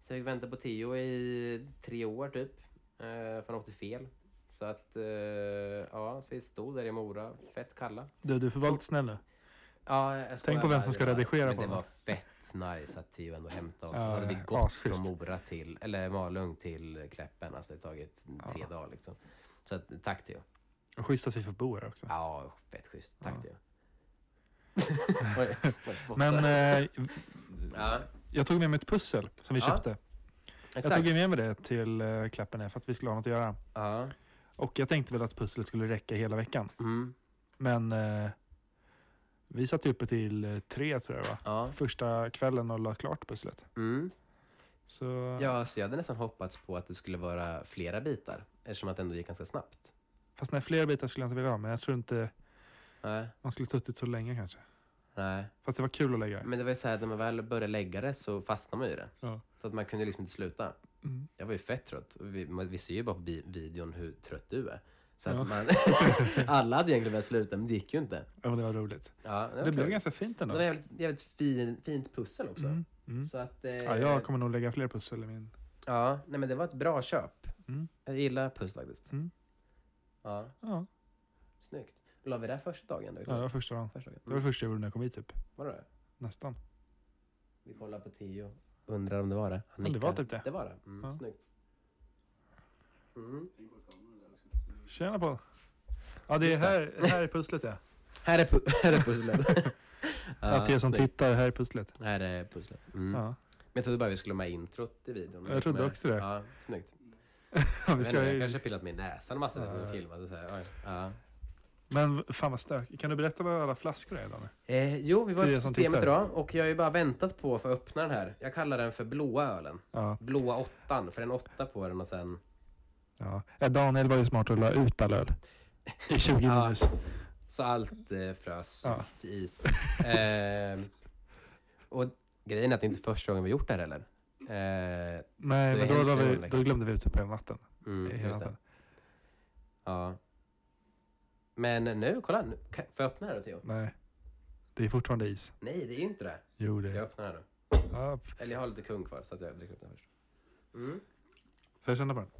Speaker 1: Så vi väntade på Theo i tre år typ. Eh, för han åkte fel. Så att, eh, ja, så vi stod där i Mora, fett kalla.
Speaker 2: Du, du får vara lite snäll nu.
Speaker 1: Ja, jag skojar
Speaker 2: på vem
Speaker 1: bara,
Speaker 2: som ska
Speaker 1: det var-
Speaker 2: redigera
Speaker 1: men
Speaker 2: på
Speaker 1: Det
Speaker 2: den.
Speaker 1: var fett nice att Theo ändå hämtade oss.
Speaker 2: Ja,
Speaker 1: och så hade vi
Speaker 2: ja,
Speaker 1: gått
Speaker 2: asschysst.
Speaker 1: från Mora till, eller Malung till Kläppen. Alltså det har tagit tre
Speaker 2: Ja.
Speaker 1: dagar liksom. Så att, tack Theo.
Speaker 2: Och schysst att vi får bo här också.
Speaker 1: Ja, fett schysst. Tack
Speaker 2: Ja.
Speaker 1: Theo. Oj, jag spottar.
Speaker 2: Men eh,
Speaker 1: ja,
Speaker 2: jag tog med mig ett pussel som vi
Speaker 1: Ja,
Speaker 2: köpte. Jag
Speaker 1: exakt.
Speaker 2: tog ju med mig det till eh, Kläppen här för att vi skulle ha något att göra.
Speaker 1: Ja.
Speaker 2: Och jag tänkte väl att pusslet skulle räcka hela veckan.
Speaker 1: Mm.
Speaker 2: Men eh, vi satt ju uppe till eh, tre tror jag va?
Speaker 1: Ja.
Speaker 2: Första kvällen och la klart pusslet.
Speaker 1: Mm.
Speaker 2: Så
Speaker 1: Ja, så jag hade nästan hoppats på att det skulle vara flera bitar. Eftersom att det ändå gick ganska snabbt.
Speaker 2: Fast nej, fler bitar skulle jag inte vilja ha, men jag tror inte
Speaker 1: Nej,
Speaker 2: man skulle suttit så länge kanske.
Speaker 1: nej.
Speaker 2: Fast det var kul att lägga det.
Speaker 1: Men det var ju så här, när man väl började lägga det så fastnade man ju i det.
Speaker 2: Ja.
Speaker 1: Så att man kunde liksom inte sluta.
Speaker 2: Mm.
Speaker 1: Jag var ju fett trött. Och Vi, man, vi ser ju bara på bi- videon hur trött du är. Så att
Speaker 2: Ja.
Speaker 1: man, alla hade egentligen velat sluta, men det gick ju inte.
Speaker 2: Ja, men det var roligt.
Speaker 1: Ja, det var,
Speaker 2: Det blev
Speaker 1: kul.
Speaker 2: ganska fint
Speaker 1: det
Speaker 2: ändå.
Speaker 1: var jävligt, jävligt fin, fint pussel också.
Speaker 2: Mm. Mm.
Speaker 1: Så att, eh,
Speaker 2: Ja, jag kommer nog lägga fler pussel i min...
Speaker 1: ja, nej men det var ett bra köp.
Speaker 2: Mm.
Speaker 1: Jag gillar pussel faktiskt.
Speaker 2: Mm.
Speaker 1: Ja.
Speaker 2: Ja.
Speaker 1: Snyggt. La vi det här första dagen? Då?
Speaker 2: Ja, det var första dagen.
Speaker 1: Första dagen.
Speaker 2: Det var
Speaker 1: Mm.
Speaker 2: det första jag gjorde när jag kom hit typ.
Speaker 1: Var det det?
Speaker 2: Nästan.
Speaker 1: Vi kollar på Tio. Undrar om det var det. Han
Speaker 2: Men det var
Speaker 1: nickar.
Speaker 2: typ det.
Speaker 1: Det var det. Mm,
Speaker 2: Ja.
Speaker 1: Snyggt. Mm.
Speaker 2: Tjena på Ja, det är
Speaker 1: Just det.
Speaker 2: här, här är pusslet ja.
Speaker 1: Här, är pu- här är pusslet.
Speaker 2: Att det som
Speaker 1: snyggt.
Speaker 2: tittar, här är pusslet.
Speaker 1: Här är pusslet. Mm.
Speaker 2: Ja.
Speaker 1: Men jag trodde bara vi skulle ha med introt i videon.
Speaker 2: Jag trodde också det.
Speaker 1: Ja, snyggt.
Speaker 2: Vi
Speaker 1: Jag,
Speaker 2: ska,
Speaker 1: jag eh, kanske har pillat min näsa en massa när
Speaker 2: Ja.
Speaker 1: vi filmade. Så här. Oj. Ja.
Speaker 2: men fan vad stök. Kan du berätta vad alla flaskor är Danne?
Speaker 1: Eh, jo, vi var
Speaker 2: Tio
Speaker 1: på
Speaker 2: som
Speaker 1: systemet
Speaker 2: tittar.
Speaker 1: idag och jag har ju bara väntat på att få öppna den här. Jag kallar den för blåa ölen.
Speaker 2: Ja,
Speaker 1: Blåa åttan, för en åtta på den och sen...
Speaker 2: ja. Eh, Daniel var ju smart och la ut all öl. I 20
Speaker 1: Ja.
Speaker 2: minus.
Speaker 1: Så allt eh, frös
Speaker 2: Ja.
Speaker 1: till is. Eh, och grejen är att det inte är första gången vi gjort det här heller. Eh,
Speaker 2: Nej,
Speaker 1: Det
Speaker 2: men
Speaker 1: är
Speaker 2: då,
Speaker 1: hemskt
Speaker 2: la vi,
Speaker 1: ovanligt.
Speaker 2: då glömde vi ut det på hela natten.
Speaker 1: mm,
Speaker 2: hela
Speaker 1: just det.
Speaker 2: natten.
Speaker 1: Ja. Men nu, kolla. Nu, kan, får jag öppna det här då, Theo?
Speaker 2: Nej. Det är fortfarande is.
Speaker 1: Nej, det är ju inte det.
Speaker 2: Jo, det
Speaker 1: Jag
Speaker 2: är
Speaker 1: öppnar den här nu.
Speaker 2: ja, f-
Speaker 1: Eller jag har lite kung kvar så att jag dricker upp den först. Mm.
Speaker 2: Får jag känna på den?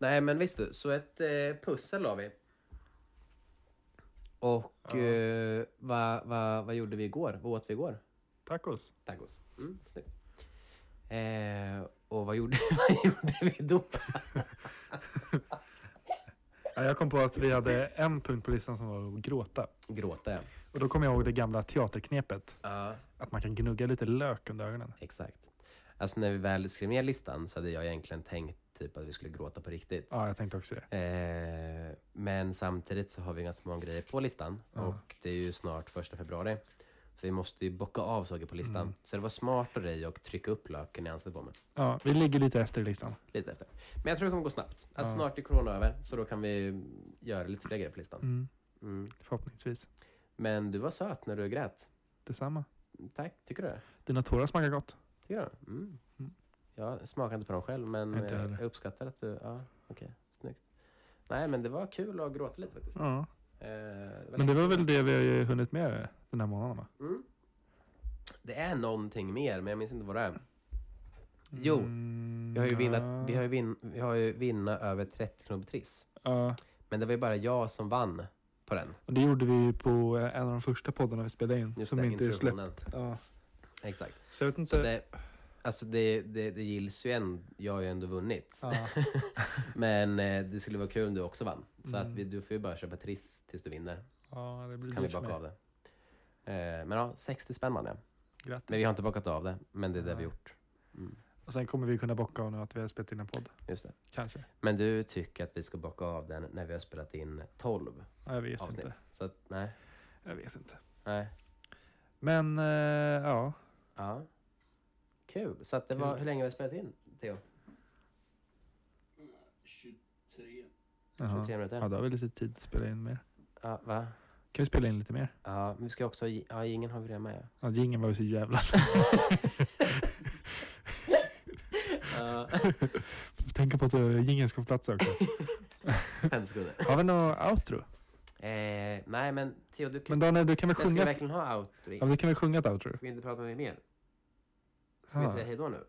Speaker 1: Nej men visst du, så ett eh, pussel la vi. Och
Speaker 2: Ja.
Speaker 1: eh, vad vad- vad gjorde vi igår? Vad åt vi igår?
Speaker 2: Tacos.
Speaker 1: Tacos. Mm, snyggt. Eh, och vad gjorde, vad gjorde vi då?
Speaker 2: Ja, jag kom på att vi hade en punkt på listan som var att gråta.
Speaker 1: Gråta ja.
Speaker 2: Och då kom jag ihåg det gamla teaterknepet.
Speaker 1: Ja,
Speaker 2: Att man kan gnugga lite lök under ögonen.
Speaker 1: exakt. Alltså när vi väl skrev ner listan så hade jag egentligen tänkt typ att vi skulle gråta på riktigt.
Speaker 2: Ja, jag tänkte också det.
Speaker 1: Eh, men samtidigt så har vi ganska många grejer på listan
Speaker 2: Ja.
Speaker 1: och det är ju snart första februari. Så vi måste ju bocka av saker på listan.
Speaker 2: Mm.
Speaker 1: Så det var smart av dig att trycka upp löken i ansiktet på mig.
Speaker 2: Ja, vi ligger lite efter i listan.
Speaker 1: Lite efter. Men jag tror det kommer gå snabbt. Alltså
Speaker 2: Ja.
Speaker 1: snart är corona över så då kan vi göra lite fler grejer på listan.
Speaker 2: Mm,
Speaker 1: Mm.
Speaker 2: förhoppningsvis.
Speaker 1: Men du var söt när du grät.
Speaker 2: Detsamma.
Speaker 1: Tack, tycker du det?
Speaker 2: Dina tårar smakar gott.
Speaker 1: Tycker du det? Mm.
Speaker 2: Mm.
Speaker 1: Jag smakar inte på dem själv men
Speaker 2: Inte
Speaker 1: eh,
Speaker 2: heller.
Speaker 1: jag uppskattar att du... Ja, okej. Snyggt. Nej men det var kul att gråta lite faktiskt.
Speaker 2: Ja.
Speaker 1: Eh, det
Speaker 2: Men
Speaker 1: var
Speaker 2: det var
Speaker 1: länge
Speaker 2: väl
Speaker 1: sedan.
Speaker 2: det vi har ju hunnit med den här månaden va?
Speaker 1: Mm. Det är någonting mer, men jag minns inte vad det är. Jo,
Speaker 2: Mm,
Speaker 1: Vi har ju,
Speaker 2: ja.
Speaker 1: vinnat, vi har ju, vin, vi har ju vinna över 30 kronor på Triss.
Speaker 2: Ja,
Speaker 1: Men det var ju bara jag som vann på den.
Speaker 2: och det gjorde vi ju på eh, en av de första poddarna vi spelade in.
Speaker 1: Just
Speaker 2: som
Speaker 1: det,
Speaker 2: inte är släppt.
Speaker 1: introduktionen.
Speaker 2: Ja.
Speaker 1: Exakt.
Speaker 2: Så jag vet
Speaker 1: Så
Speaker 2: inte.
Speaker 1: det, alltså det, det, det gills ju än. Jag har ju ändå vunnit.
Speaker 2: Ja.
Speaker 1: Men eh, det skulle vara kul om du också vann. Så
Speaker 2: Mm.
Speaker 1: att vi, du får ju bara köpa Triss tills du vinner.
Speaker 2: ja, det
Speaker 1: Så
Speaker 2: blir
Speaker 1: kan vi
Speaker 2: dyrt för mig.
Speaker 1: baka av det. Eh, men ja, 60 spänn man det.
Speaker 2: Grattis.
Speaker 1: Men vi har inte bakat av det. Men det är det vi
Speaker 2: Nej.
Speaker 1: gjort. Mm,
Speaker 2: Och sen kommer vi kunna bocka av nu att vi har spelat in en podd.
Speaker 1: just det.
Speaker 2: Kanske.
Speaker 1: Men du tycker att vi ska baka av den när vi har spelat in 12
Speaker 2: Ja, jag vet
Speaker 1: avsnitt.
Speaker 2: inte.
Speaker 1: Så att, nej.
Speaker 2: Jag vet inte.
Speaker 1: nej.
Speaker 2: Men eh, ja,
Speaker 1: Ja. Kul. Så att det var,
Speaker 2: Kul.
Speaker 1: hur länge har vi spelat in, Theo?
Speaker 3: 23.
Speaker 2: Jaha.
Speaker 1: 23 minuter?
Speaker 2: ja, då har vi lite tid att spela in mer.
Speaker 1: Ja, va?
Speaker 2: Kan vi spela in lite mer?
Speaker 1: Ja, men vi ska också... Ja, ingen har vi det med.
Speaker 2: Ja, jingeln var ju så jävla...
Speaker 1: Ja.
Speaker 2: Tänk på att eh, jingeln ska få plats också.
Speaker 1: Fem sekunder.
Speaker 2: Har vi något outro?
Speaker 1: Eh, nej, men Theo, du
Speaker 2: Men
Speaker 1: kan...
Speaker 2: Daniel, du kan väl
Speaker 1: Men ska vi
Speaker 2: sjunga?
Speaker 1: verkligen ha outro?
Speaker 2: Ja,
Speaker 1: Ska
Speaker 2: vi kan väl sjunga ett outro?
Speaker 1: vi inte prata om det mer? Ska vi
Speaker 2: Ja.
Speaker 1: säga hej då nu?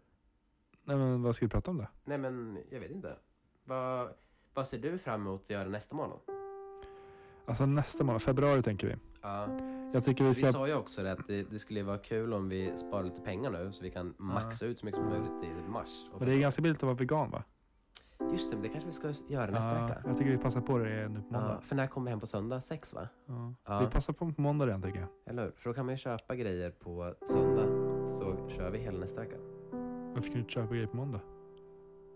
Speaker 2: Nej, men vad ska vi prata om då?
Speaker 1: Nej, men jag vet inte. Vad, vad ser du fram emot att göra nästa månad?
Speaker 2: Alltså nästa månad, februari tänker vi.
Speaker 1: Ja,
Speaker 2: Jag tycker vi
Speaker 1: vi
Speaker 2: ska...
Speaker 1: sa ju också det att det, det skulle vara kul om vi sparar lite pengar nu så vi kan maxa ut så mycket som möjligt i mars.
Speaker 2: Men det är ganska billigt att vara vegan va?
Speaker 1: Just det, men det kanske vi ska göra nästa
Speaker 2: Ja,
Speaker 1: vecka.
Speaker 2: Jag tycker vi passar på det nu på
Speaker 1: Ja,
Speaker 2: måndag.
Speaker 1: för när kommer vi hem på söndag? Sex va?
Speaker 2: Ja.
Speaker 1: Ja.
Speaker 2: Vi passar på på måndag redan tycker jag.
Speaker 1: Eller hur? För då kan man ju köpa grejer på söndag. Så kör vi hela nästa vecka.
Speaker 2: Varför kan du inte köpa grejer på måndag?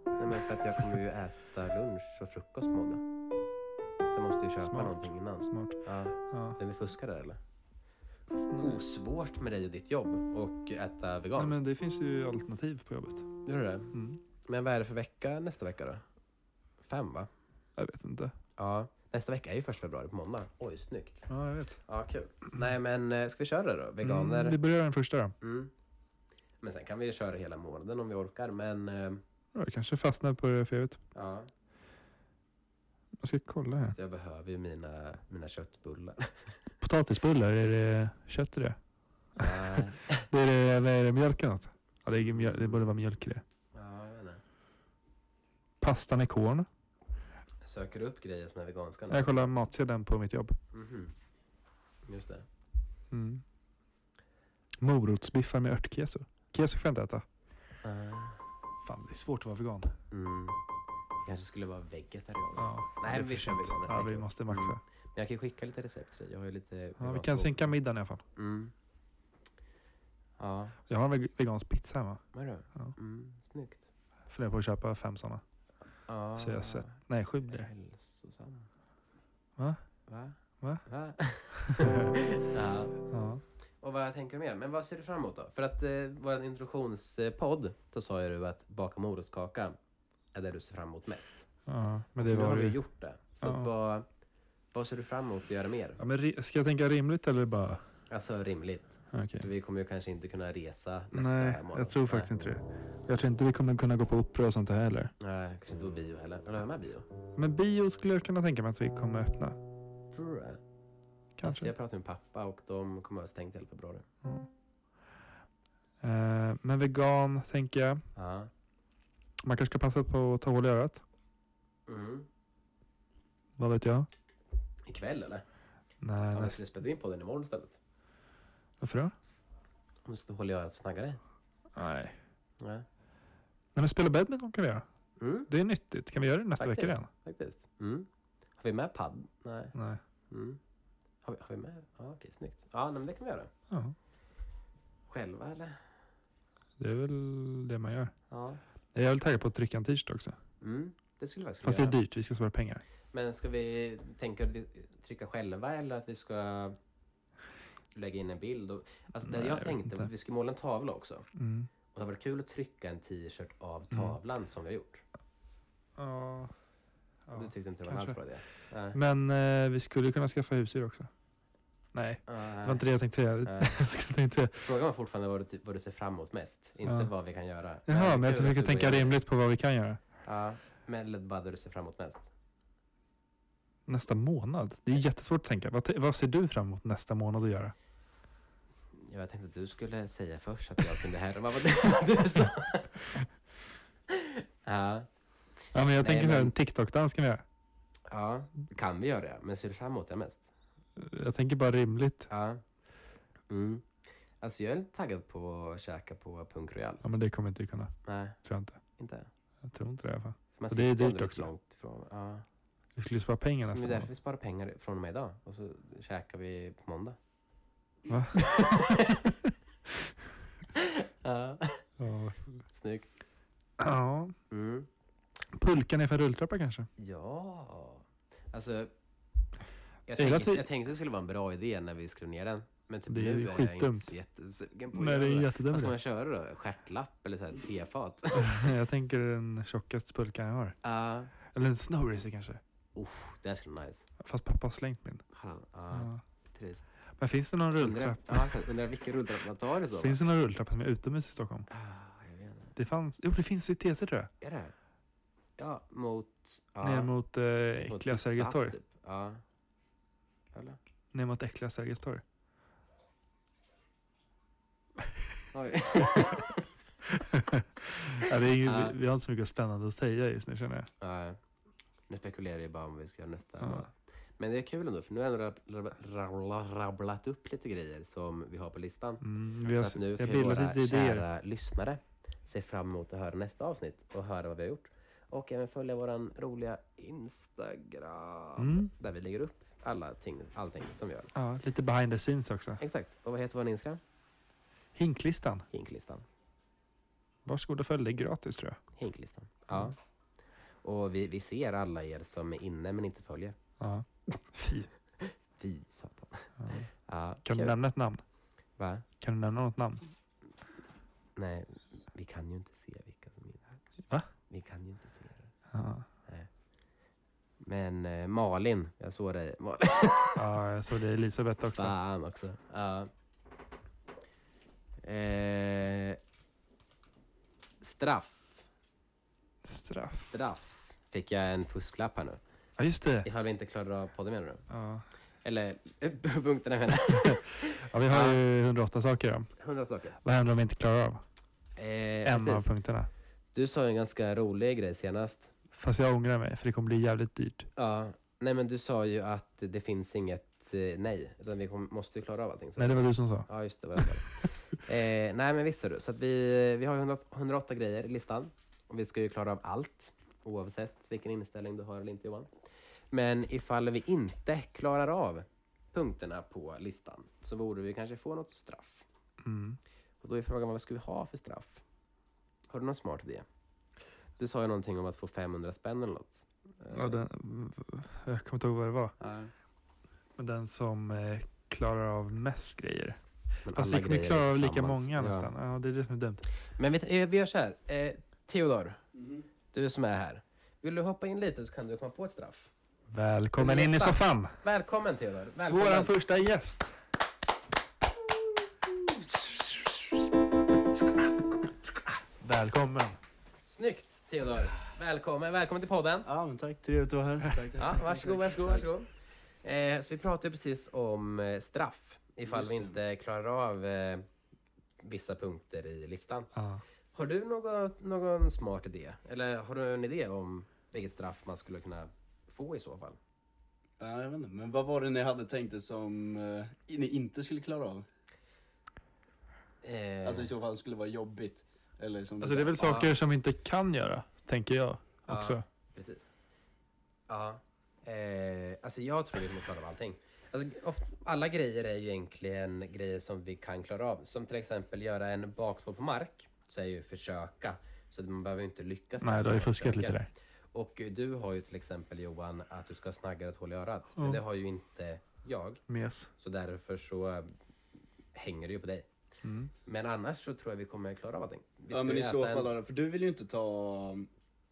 Speaker 1: Nej men för att jag kommer ju äta lunch och frukost på måndag. Så jag måste ju köpa
Speaker 2: Smart.
Speaker 1: någonting innan.
Speaker 2: Smart.
Speaker 1: Ja,
Speaker 2: Ja.
Speaker 1: men vi fuskar där eller?
Speaker 2: Nej.
Speaker 1: Osvårt med dig och ditt jobb och äta
Speaker 2: Nej,
Speaker 1: veganskt.
Speaker 2: men det finns ju alternativ på jobbet.
Speaker 1: Gör du det?
Speaker 2: Mm.
Speaker 1: Men vad är det för vecka nästa vecka då? Fem va?
Speaker 2: Jag vet inte.
Speaker 1: Ja. Nästa vecka är ju första februari på måndag. Oj, snyggt.
Speaker 2: Ja, jag vet.
Speaker 1: Ja, kul. Nej men eh, ska vi köra det då? Veganer?
Speaker 2: Mm, vi börjar den första då.
Speaker 1: Mm. Men sen kan vi ju köra hela månaden om vi orkar. Men eh,
Speaker 2: Ja, Jag kanske fastnar på det, för jag vet.
Speaker 1: ja,
Speaker 2: Jag ska kolla här.
Speaker 1: så jag behöver ju mina, mina köttbullar.
Speaker 2: Potatisbullar, är det kött i det?
Speaker 1: Nej,
Speaker 2: det är, det, vad är det mjölk eller något? Ja, det, är mjöl, det borde vara mjölk i det.
Speaker 1: ja, jag vet inte.
Speaker 2: Pastan är korn.
Speaker 1: Söker upp grejer som är veganska nu?
Speaker 2: Jag kollar matsedeln på mitt jobb.
Speaker 1: Mhm. Just det.
Speaker 2: Mm. Morotsbiffar med örtkeso. Keso får jag inte äta.
Speaker 1: Ah.
Speaker 2: Fan, det är svårt att vara vegan.
Speaker 1: Mm. Jag kanske skulle vara vegetarian.
Speaker 2: Ja,
Speaker 1: Nej,
Speaker 2: det är för
Speaker 1: vi kör
Speaker 2: sent.
Speaker 1: veganer.
Speaker 2: Ja,
Speaker 1: Det är
Speaker 2: vi
Speaker 1: kul.
Speaker 2: måste maxa.
Speaker 1: Mm. Men jag kan ju skicka lite recept till dig. Jag har ju lite
Speaker 2: Ja, vi
Speaker 1: vegansk
Speaker 2: kan
Speaker 1: bok.
Speaker 2: sänka middagen i alla fall.
Speaker 1: Mm. Ja,
Speaker 2: Jag har en veg- vegansk pizza hemma.
Speaker 1: vad då?
Speaker 2: Ja.
Speaker 1: Mm, snyggt.
Speaker 2: Funderar på att köpa fem sådana.
Speaker 1: Ja.
Speaker 2: Så jag har sett. Nej, sju blir det.
Speaker 1: Hälsosamt.
Speaker 2: Va?
Speaker 1: Va?
Speaker 2: Va?
Speaker 1: Va? ja.
Speaker 2: Ja.
Speaker 1: Och vad jag tänker mer? Men vad ser du fram emot då? För att eh, vår introduktionspodd, då sa ju du att baka morotskaka är det du ser fram emot mest.
Speaker 2: ja, men
Speaker 1: Alltså, nu
Speaker 2: det
Speaker 1: har
Speaker 2: var
Speaker 1: du
Speaker 2: ju...
Speaker 1: gjort det. Så
Speaker 2: Ja.
Speaker 1: vad, vad ser du fram emot att göra mer?
Speaker 2: Ja, men ri- ska jag tänka rimligt eller bara...
Speaker 1: Alltså rimligt.
Speaker 2: Okej.
Speaker 1: För vi kommer ju kanske inte kunna resa nästa
Speaker 2: Nej,
Speaker 1: morgon.
Speaker 2: jag tror faktiskt inte det. Jag tror inte vi kommer kunna gå på opera och sånt där heller.
Speaker 1: Nej, Nej, kanske inte på bio heller. Eller har jag med bio?
Speaker 2: Men bio skulle jag kunna tänka mig att vi kommer öppna.
Speaker 1: Tror du det? Alltså,
Speaker 2: Kanske.
Speaker 1: jag pratade med pappa och de kommer att ha stängt hela februari.
Speaker 2: Eh, men vegan tänker jag.
Speaker 1: Ja.
Speaker 2: Man kanske ska passa på att ta hål i örat.
Speaker 1: Mm.
Speaker 2: Vad vet jag?
Speaker 1: Ikväll eller?
Speaker 2: Nej,
Speaker 1: Ja, vi
Speaker 2: näst...
Speaker 1: skulle spela in podden imorgon istället.
Speaker 2: Varför då?
Speaker 1: Om du skulle hålla i örat och snagga dig.
Speaker 2: Nej.
Speaker 1: Nej.
Speaker 2: Nej, men spela badminton kan vi göra.
Speaker 1: Mm,
Speaker 2: Det är nyttigt. Kan vi göra det nästa
Speaker 1: Faktiskt.
Speaker 2: vecka igen?
Speaker 1: faktiskt. Mm. Har vi med padd? Nej.
Speaker 2: Nej.
Speaker 1: Mm. Har, vi, har vi med? Ja, okej, snyggt. Ja, nej, men det kan vi göra.
Speaker 2: Ja,
Speaker 1: Själva eller?
Speaker 2: det är väl det man gör.
Speaker 1: Ja.
Speaker 2: Jag är väl taggad på att trycka en t-shirt också.
Speaker 1: Mm. Det skulle vi faktiskt
Speaker 2: Fast det
Speaker 1: kunna
Speaker 2: är
Speaker 1: göra.
Speaker 2: dyrt. Vi ska spara pengar.
Speaker 1: Men ska vi tänka att vi trycka själva eller att vi ska lägga in en bild? Och, alltså det
Speaker 2: Nej,
Speaker 1: jag
Speaker 2: jag
Speaker 1: tänkte
Speaker 2: vet
Speaker 1: var att
Speaker 2: inte.
Speaker 1: vi skulle måla en tavla också.
Speaker 2: Mm.
Speaker 1: Och det hade varit kul att trycka en t-shirt av
Speaker 2: Mm.
Speaker 1: tavlan som vi har gjort.
Speaker 2: Ja.
Speaker 1: Och Du tyckte inte det var en
Speaker 2: kanske.
Speaker 1: alls bra idé? Nej.
Speaker 2: Men eh, vi skulle kunna skaffa husdjur också. Nej, det
Speaker 1: Nej.
Speaker 2: var inte det jag tänkte säga.
Speaker 1: Nej.
Speaker 2: Jag skulle tänkte,
Speaker 1: Frågan var fortfarande vad du, ty- vad du ser fram emot mest. Inte
Speaker 2: Ja.
Speaker 1: vad vi kan göra.
Speaker 2: jaha, men jag
Speaker 1: kul att
Speaker 2: försöker
Speaker 1: du
Speaker 2: tänka
Speaker 1: börjar-
Speaker 2: rimligt på vad vi kan göra.
Speaker 1: Ja, men eller bara det du ser fram emot mest.
Speaker 2: Nästa månad? Det är jättesvårt att tänka. Vad, t- vad ser du fram emot nästa månad att göra?
Speaker 1: Ja, Jag tänkte att du skulle säga först att jag kunde härma vad det var du sa. Ja,
Speaker 2: Ja, men jag
Speaker 1: Nej,
Speaker 2: tänker så här,
Speaker 1: men-
Speaker 2: en TikTok-dans kan vi göra.
Speaker 1: ja, kan vi göra det? Men ser du fram emot det mest?
Speaker 2: Jag tänker bara rimligt.
Speaker 1: Ja. Mm. Alltså jag är lite taggad på att käka på Punk Royal.
Speaker 2: Ja, men det kommer inte vi kunna.
Speaker 1: Nej,
Speaker 2: Tror jag inte.
Speaker 1: inte.
Speaker 2: Jag tror inte det i alla fall.
Speaker 1: Man
Speaker 2: Och det är
Speaker 1: sitter ändå
Speaker 2: dyrt
Speaker 1: lite
Speaker 2: också.
Speaker 1: Långt ifrån. Ja.
Speaker 2: Vi skulle ju spara pengar
Speaker 1: Men det
Speaker 2: nästa
Speaker 1: är därför
Speaker 2: månad.
Speaker 1: vi sparar pengar från och med idag. Och så käkar vi på måndag.
Speaker 2: Va?
Speaker 1: ja,
Speaker 2: Ja.
Speaker 1: snyggt.
Speaker 2: ja.
Speaker 1: Mm.
Speaker 2: Pulkan är för rulltrappa kanske?
Speaker 1: Ja. Alltså, jag,
Speaker 2: Eller
Speaker 1: tänk,
Speaker 2: att vi-
Speaker 1: jag tänkte det skulle vara en bra idé när vi skrev ner den. Men typ
Speaker 2: Det är
Speaker 1: nu
Speaker 2: ju
Speaker 1: är jag inte
Speaker 2: skitdumt.
Speaker 1: så jättesugen på att
Speaker 2: Nej, det är
Speaker 1: göra
Speaker 2: en
Speaker 1: det.
Speaker 2: jättedum
Speaker 1: Vad ska
Speaker 2: idé.
Speaker 1: man köra då? Stjärtlapp eller så här tefat?
Speaker 2: Jag tänker den tjockaste pulkan jag har.
Speaker 1: Ja,
Speaker 2: Eller en snowracer kanske.
Speaker 1: det här skulle vara nice.
Speaker 2: Fast pappa har slängt min.
Speaker 1: Ja,
Speaker 2: Ja.
Speaker 1: trist.
Speaker 2: Men finns det någon
Speaker 1: Undrar,
Speaker 2: rulltrappa?
Speaker 1: ja, exakt. undrar vilken rulltrappa man tar i så. fall.
Speaker 2: Finns det någon rulltrappa som är utomhus i Stockholm?
Speaker 1: Ah, jag vet inte.
Speaker 2: Det fanns... Jo, det finns i TC tror jag.
Speaker 1: Är det? här? Ja, mot... Ja,
Speaker 2: Ner mot eh,
Speaker 1: mot
Speaker 2: äckliga
Speaker 1: Pizza
Speaker 2: Sergels
Speaker 1: Hut,
Speaker 2: torg.
Speaker 1: Typ. Ja. Eller?
Speaker 2: Ner mot äckliga Sergels torg.
Speaker 1: Oj.
Speaker 2: Ja, det är ju,
Speaker 1: Ja.
Speaker 2: vi, vi har inte så mycket spännande att säga just nu känner jag.
Speaker 1: Nej. nu spekulerar jag bara om vi ska göra nästa.
Speaker 2: Ja.
Speaker 1: månad. Men det är kul ändå, för nu har jag rab- rab- rab- rabblat upp lite grejer som vi har på listan.
Speaker 2: Mm, vi
Speaker 1: Så
Speaker 2: har,
Speaker 1: att nu
Speaker 2: jag
Speaker 1: kan ju
Speaker 2: bildar
Speaker 1: våra
Speaker 2: lite idéer.
Speaker 1: kära lyssnare se fram emot att höra nästa avsnitt och höra vad vi har gjort. Och även följa våran roliga Instagram
Speaker 2: Mm.
Speaker 1: där vi lägger upp alla ting, allting som vi gör.
Speaker 2: Ja, lite behind the scenes också.
Speaker 1: Exakt. Och vad heter vår Instagram?
Speaker 2: Hinklistan.
Speaker 1: Hinklistan.
Speaker 2: Varsågod och följ, det är gratis tror jag.
Speaker 1: Hinklistan. Ja.
Speaker 2: Mm.
Speaker 1: Och vi, vi ser alla er som är inne men inte följer.
Speaker 2: Ja. Fy.
Speaker 1: Fy satan.
Speaker 2: Ja.
Speaker 1: Ja,
Speaker 2: Kan du
Speaker 1: kul.
Speaker 2: nämna ett namn?
Speaker 1: Va?
Speaker 2: Kan du nämna något namn?
Speaker 1: Nej, vi kan ju inte se vilka som är inne.
Speaker 2: Va?
Speaker 1: Vi kan ju inte se det.
Speaker 2: Ja,
Speaker 1: Men eh, Malin, jag såg dig. Malin.
Speaker 2: ja jag såg det i Elisabeth också.
Speaker 1: Fan också. Ja. Eh, straff.
Speaker 2: Straff.
Speaker 1: Straff. Fick jag en fusklapp här nu.
Speaker 2: Ja, just det.
Speaker 1: Ifall vi inte klarar av podden menar du?
Speaker 2: Ja.
Speaker 1: Eller eh, punkterna menar
Speaker 2: Ja, vi har
Speaker 1: Ja.
Speaker 2: ju 108 saker då.
Speaker 1: jag. Hundra saker.
Speaker 2: Vad händer om vi inte klarar av
Speaker 1: Eh,
Speaker 2: en
Speaker 1: precis.
Speaker 2: av punkterna?
Speaker 1: Du sa ju en ganska rolig grej senast.
Speaker 2: Fast jag ångrar mig, för det kommer bli jävligt dyrt.
Speaker 1: Ja. Nej, men du sa ju att det finns inget eh, nej, utan vi kom, måste ju klara av allting. Så.
Speaker 2: Nej, det var du som sa.
Speaker 1: Ja, just det. Var jag sa. eh, nej, men visst ser du. Så att vi, vi har ju 100 108 grejer i listan. Och vi ska ju klara av allt, oavsett vilken inställning du har eller inte Johan. Men ifall vi inte klarar av punkterna på listan så borde vi kanske få något straff.
Speaker 2: Mm.
Speaker 1: Och då är frågan, vad ska vi ha för straff? Har du någon smart idé? Du sa ju någonting om att få 500 spänn eller något. Eh,
Speaker 2: Ja, den, jag kommer inte ihåg vad det var.
Speaker 1: ja.
Speaker 2: Men den som eh, klarar av mest grejer.
Speaker 1: Men
Speaker 2: Fast
Speaker 1: alla
Speaker 2: vi kommer
Speaker 1: grejer
Speaker 2: klara av lika
Speaker 1: tillsammans.
Speaker 2: många nästan. Ja, det är det som är dumt.
Speaker 1: Men vet, eh, vi gör så här. Eh, Theodor,
Speaker 3: Mhm.
Speaker 1: du som är här. Vill du hoppa in lite så kan du komma på ett straff.
Speaker 2: Välkommen
Speaker 1: Men
Speaker 2: in i
Speaker 1: nästan.
Speaker 2: soffan!
Speaker 1: Välkommen Theodor. Välkommen.
Speaker 2: Vår första gäst. Välkommen.
Speaker 1: Snyggt Theodor. Välkommen, välkommen till podden.
Speaker 3: Ja, men tack. Trevligt att vara här. Tack, tack.
Speaker 1: Ja, varsågod, varsågod, varsågod. Eh, så vi pratade ju precis om eh, straff. Ifall
Speaker 3: Just
Speaker 1: vi
Speaker 3: det.
Speaker 1: inte klarar av eh, vissa punkter i listan.
Speaker 2: Ja.
Speaker 1: Har du något, någon smart idé? Eller har du en idé om vilket straff man skulle kunna få i så fall?
Speaker 3: Ja, jag vet inte. Men vad var det ni hade tänkt er som eh, ni inte skulle klara av?
Speaker 1: Eh,
Speaker 3: Alltså i så fall skulle vara jobbigt. Eller som
Speaker 2: Alltså det är väl saker som vi inte kan göra, tänker jag
Speaker 1: Ja.
Speaker 2: också.
Speaker 1: Precis. Ja. Eh, alltså jag tror vi kommer klara av allting. Alltså, oft, alla grejer är ju egentligen grejer som vi kan klara av. Som till exempel göra en baktåg på mark. Så är ju försöka. Så att man behöver ju inte lyckas.
Speaker 2: Nej, du har ju
Speaker 1: Man
Speaker 2: fuskat
Speaker 1: försöker.
Speaker 2: lite där.
Speaker 1: Och du har ju till exempel Johan att du ska snagga ett hål i örat. Men
Speaker 2: Ja.
Speaker 1: det har ju inte jag.
Speaker 2: Mes.
Speaker 1: Så därför så eh, hänger det ju på dig.
Speaker 2: Mm.
Speaker 1: Men annars så tror jag vi kommer klara av allting. Vi
Speaker 3: Ja,
Speaker 1: ska
Speaker 3: men
Speaker 1: ju
Speaker 3: i
Speaker 1: äta
Speaker 3: så
Speaker 1: en-
Speaker 3: fall, har det- för du vill ju inte ta... um,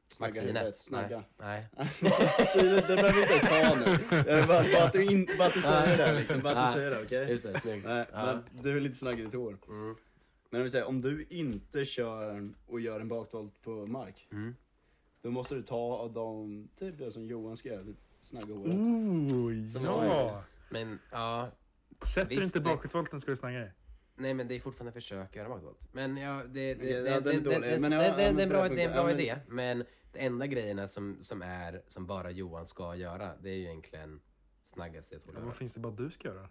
Speaker 3: Snagga
Speaker 1: Vaccinet.
Speaker 3: huvudet. Snagga.
Speaker 1: Nej.
Speaker 3: Vaccinet, det behöver vi inte ens ta nu. Jag vill bara, bara, att du in, bara att du säger det liksom. Bara att du
Speaker 1: Nej.
Speaker 3: säger det, okej?
Speaker 1: Nej, just det. Snyggt.
Speaker 3: Nej,
Speaker 1: Ja.
Speaker 3: men du vill inte snagga ditt hår.
Speaker 1: Mm.
Speaker 3: Men om vi säger, om du inte kör en- och gör en bakvolt på mark,
Speaker 1: Mm.
Speaker 3: då måste du ta av de, typ det som Johan ska göra, typ snagga håret.
Speaker 2: Ooh,
Speaker 3: Som
Speaker 2: ja!
Speaker 3: sagt.
Speaker 1: Men ja,
Speaker 2: Sätter du
Speaker 1: Visst,
Speaker 2: inte
Speaker 1: det-
Speaker 2: bakåtvolten ska du snagga dig.
Speaker 1: Nej, men det är fortfarande försök att göra bakåt. Men ja, det, det,
Speaker 3: Okej,
Speaker 1: det,
Speaker 3: ja, den är
Speaker 1: det, det,
Speaker 3: dålig.
Speaker 1: det,
Speaker 3: Men ja,
Speaker 1: det-
Speaker 3: ja,
Speaker 1: det,
Speaker 3: men
Speaker 1: det är en
Speaker 3: på
Speaker 1: bra,
Speaker 3: den
Speaker 1: det är en
Speaker 3: punkten,
Speaker 1: bra
Speaker 3: ja, men-
Speaker 1: idé, men det enda grejerna som, som, är, som bara Johan ska göra, det är ju egentligen snagga sig ett hål i
Speaker 2: Ja, vad
Speaker 1: örat.
Speaker 2: finns det bara du ska göra?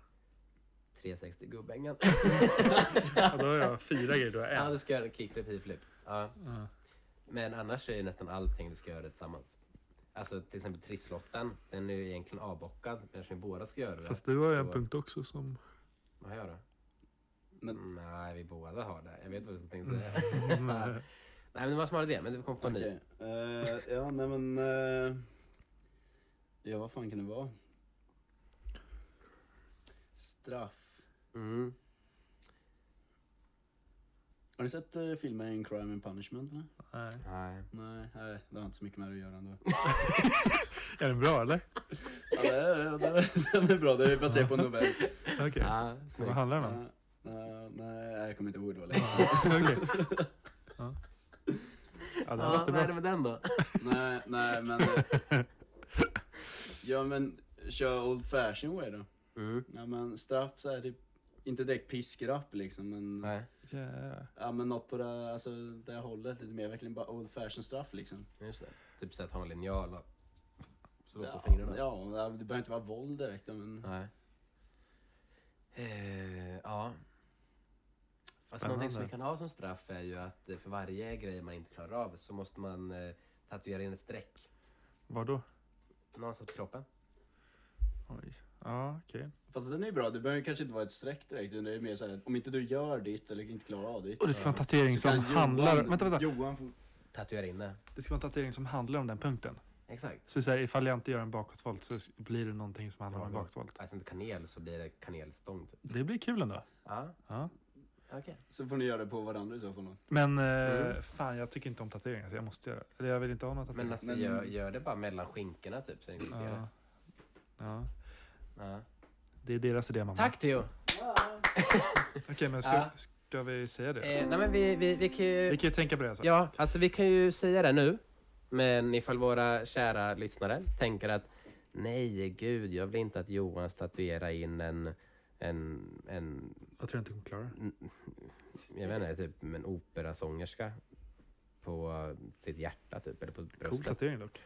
Speaker 1: 360 gubbängen.
Speaker 2: Ja, då har jag fyra grejer, du har
Speaker 1: ja,
Speaker 2: en.
Speaker 1: du ska göra en kickflip, hipflip. Ja.
Speaker 2: Ja.
Speaker 1: Men annars är ju nästan allting du ska göra tillsammans. Alltså till exempel trisslotten, den är ju egentligen avbockad, men eftersom vi båda ska göra det.
Speaker 2: Fast du har ju en
Speaker 1: så-
Speaker 2: punkt också som...
Speaker 1: Vad har jag då?
Speaker 3: Men-
Speaker 1: Nej, vi båda har det. Jag vet vad du tänkte säga. Nej, men det var en smart idé, men du kom på en ny.
Speaker 3: Okej. Eh, ja, nej men... eh, ja, vad fan kan det vara? Straff.
Speaker 1: Mm.
Speaker 3: Har ni sett eh, filmen Crime and Punishment? Eller?
Speaker 2: Nej.
Speaker 1: Nej.
Speaker 3: Nej, nej, det har inte så mycket med det att göra ändå.
Speaker 2: Är den bra eller?
Speaker 3: ja, det, är- det, är- den är bra, det är baserat på en novell.
Speaker 2: Okej.
Speaker 1: Ja, snyggt.
Speaker 2: Vad handlar den om?
Speaker 3: Eh, nej, nej, jag kommer inte ihåg, det var länge sedan.
Speaker 2: Okej. Ja. Ja, det
Speaker 1: Ja,
Speaker 2: låter
Speaker 1: vad är det
Speaker 2: bra.
Speaker 1: med den då?
Speaker 3: nej, nej, men... eh, ja, men kör Old Fashion Way då.
Speaker 1: Mm.
Speaker 3: Ja, men straff så här, typ... Inte direkt piskrapp liksom, men...
Speaker 1: Nej,
Speaker 2: Yeah.
Speaker 3: Ja men något på det, alltså, det här hållet lite mer, verkligen bara old fashion straff liksom.
Speaker 1: just det. Typ så att ha en linjal och slå
Speaker 3: ja,
Speaker 1: på fingrarna.
Speaker 3: Ja, ja, det behöver inte vara våld direkt men...
Speaker 1: Nej. Eh, ja. Alltså
Speaker 2: Spännande.
Speaker 1: någonting som vi kan ha som straff är ju att eh, för varje grej man inte klarar av så måste man eh, tatuera in ett streck
Speaker 2: Vadå?
Speaker 1: någonstans på kroppen.
Speaker 2: Oj. Ja, okej.
Speaker 3: Fast den är ju bra, det behöver kanske inte vara ett streck direkt. utan Det är mer såhär, om inte du gör ditt eller inte klarar av ditt.
Speaker 2: Och det ska vara en tatuering
Speaker 3: så kan
Speaker 2: som handlar...
Speaker 3: Johan,
Speaker 2: Vänta, vänta.
Speaker 3: Johan får...
Speaker 1: Tatuera in det.
Speaker 2: Det ska vara en tatuering som handlar om den punkten.
Speaker 1: Exakt.
Speaker 2: Så, så här, ifall jag inte gör en bakåtvolt så blir det någonting som handlar om en
Speaker 1: Ja.
Speaker 2: bakåtvolt.
Speaker 1: Att inte kanel så blir det kanelstång typ.
Speaker 2: Det blir kul ändå.
Speaker 1: Ja,
Speaker 2: Ja.
Speaker 1: okej.
Speaker 3: Så får ni göra det på varandra i så fall. då.
Speaker 2: Men eh,
Speaker 1: Mm.
Speaker 2: fan, jag tycker inte om tatueringar så jag måste göra Eller jag vill inte ha några
Speaker 1: Men
Speaker 2: tatueringar.
Speaker 1: alltså
Speaker 3: Men-
Speaker 1: Gör, gör det bara mellan skinkorna typ så ni kan se det.
Speaker 2: ja. ja,
Speaker 1: Ja.
Speaker 2: det är deras idé mamma.
Speaker 1: Tack Theo!
Speaker 2: Okej, men ska,
Speaker 1: Ja.
Speaker 2: ska vi säga det?
Speaker 1: Eh, nej men vi, vi, vi kan ju...
Speaker 2: Vi kan ju tänka på det. Alltså.
Speaker 1: Ja, alltså vi kan ju säga det nu. Men ifall våra kära lyssnare tänker att nej, gud, jag vill inte att Johan statuerar in en, en, en
Speaker 2: Jag tror inte hon klarar det.
Speaker 1: jag vet inte, typ en operasångerska på sitt hjärta typ, eller på
Speaker 2: Cool
Speaker 1: bröstet. Mm.
Speaker 2: tatuering dock.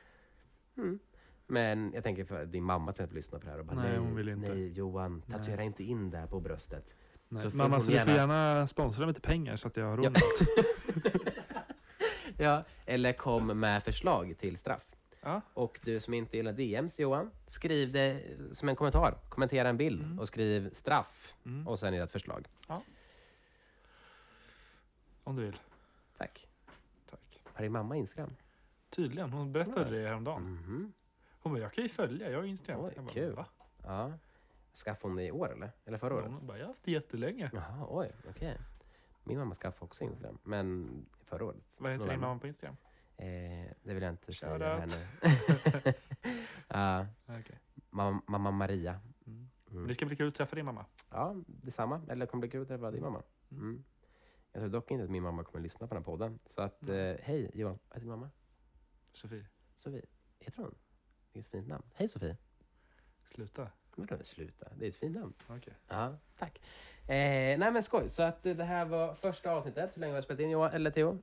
Speaker 1: Men jag tänker för din mamma till exempel lyssnar på det här och bara nej,
Speaker 2: Nej, hon vill inte.
Speaker 1: nej Johan, tatuera inte in det här på bröstet.
Speaker 2: Nej.
Speaker 1: Så får
Speaker 2: Mamma,
Speaker 1: hon
Speaker 2: så du får
Speaker 1: gärna-
Speaker 2: gärna sponsra mig lite pengar så att jag har råd.
Speaker 1: Ja.
Speaker 2: med allt.
Speaker 1: Ja, eller kom med förslag till straff.
Speaker 2: Ja.
Speaker 1: Och du som inte gillar DMs Johan, skriv det som en kommentar. Kommentera en bild och skriv straff
Speaker 2: Mm.
Speaker 1: och sen ert förslag.
Speaker 2: Om du vill.
Speaker 1: Tack.
Speaker 2: Tack.
Speaker 1: Har din mamma Instagram?
Speaker 2: Tydligen. Hon berättade det häromdagen.
Speaker 1: Mhm.
Speaker 2: Hon bara, jag kan ju följa. Jag har Instagram.
Speaker 1: Oj,
Speaker 2: jag bara,
Speaker 1: kul.
Speaker 2: va?
Speaker 1: Ja. Skaffade hon det i år eller? Eller förra året?
Speaker 2: Hon bara, jag har haft det jättelänge.
Speaker 1: Jaha, oj, okej. Min mamma skaffade också Instagram, men förra året.
Speaker 2: Vad heter din
Speaker 1: November.
Speaker 2: mamma på Instagram?
Speaker 1: Eh, det vill jag inte
Speaker 2: Shoutout.
Speaker 1: säga här nu. Ja,
Speaker 2: Okej.
Speaker 1: mamma, mamma Maria.
Speaker 2: Mm.
Speaker 1: Mm.
Speaker 2: Men Det ska bli kul att träffa din mamma.
Speaker 1: Ja, detsamma. Eller kommer bli kul att träffa din mamma. Mm. Jag tror dock inte att min mamma kommer lyssna på den här podden. Så att, eh, hej Johan. Vad heter din mamma?
Speaker 2: Sofie,
Speaker 1: Sofie. Heter hon? Vilket fint namn. Hej Sofie.
Speaker 2: sluta.
Speaker 1: Vadå sluta? Det är ett fint namn.
Speaker 2: Okej.
Speaker 1: Ja, tack. Eh, nej men skoj. Så att eh, det här var första avsnittet. Hur länge har vi spelat in Johan? Eller Theo?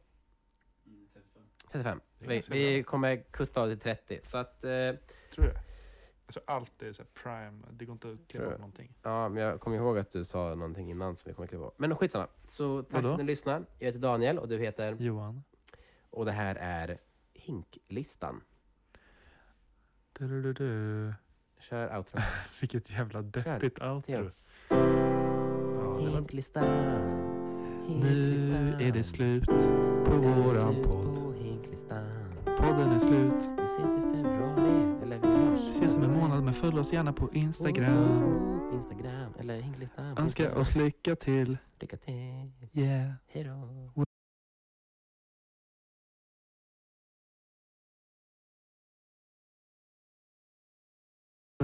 Speaker 1: 35.
Speaker 2: Det är
Speaker 1: Vi,
Speaker 2: ganska
Speaker 1: vi kommer kutta av till 30. Så att, eh,
Speaker 2: Tror du det? Alltså allt är så här prime. Det går inte att klippa
Speaker 1: Tror
Speaker 2: bort
Speaker 1: jag.
Speaker 2: någonting.
Speaker 1: ja, men jag kommer ihåg att du sa någonting innan som vi kommer klippa på. Men skitsamma. Så tack
Speaker 2: Vadå?
Speaker 1: för att ni lyssnade. Jag heter Daniel och du heter?
Speaker 2: Johan.
Speaker 1: Och det här är Hinklistan.
Speaker 2: Du, du, du, du.
Speaker 1: Kör outro.
Speaker 2: Vilket jävla deppigt outro.
Speaker 1: Theo.
Speaker 2: Ja, det var...
Speaker 1: Hinklistan.
Speaker 2: Nu är det slut på
Speaker 1: Nu är det
Speaker 2: våran
Speaker 1: slut
Speaker 2: podd.
Speaker 1: på Hinklistan.
Speaker 2: Podden är slut.
Speaker 1: Vi ses i februari. Eller vi hörs.
Speaker 2: Vi ses om en månad men följ oss gärna på Instagram.
Speaker 1: Oh, Instagram. Eller Hinklistan. på
Speaker 2: Önskar
Speaker 1: Instagram.
Speaker 2: oss lycka till.
Speaker 1: Lycka till.
Speaker 2: Yeah.
Speaker 1: Hej då.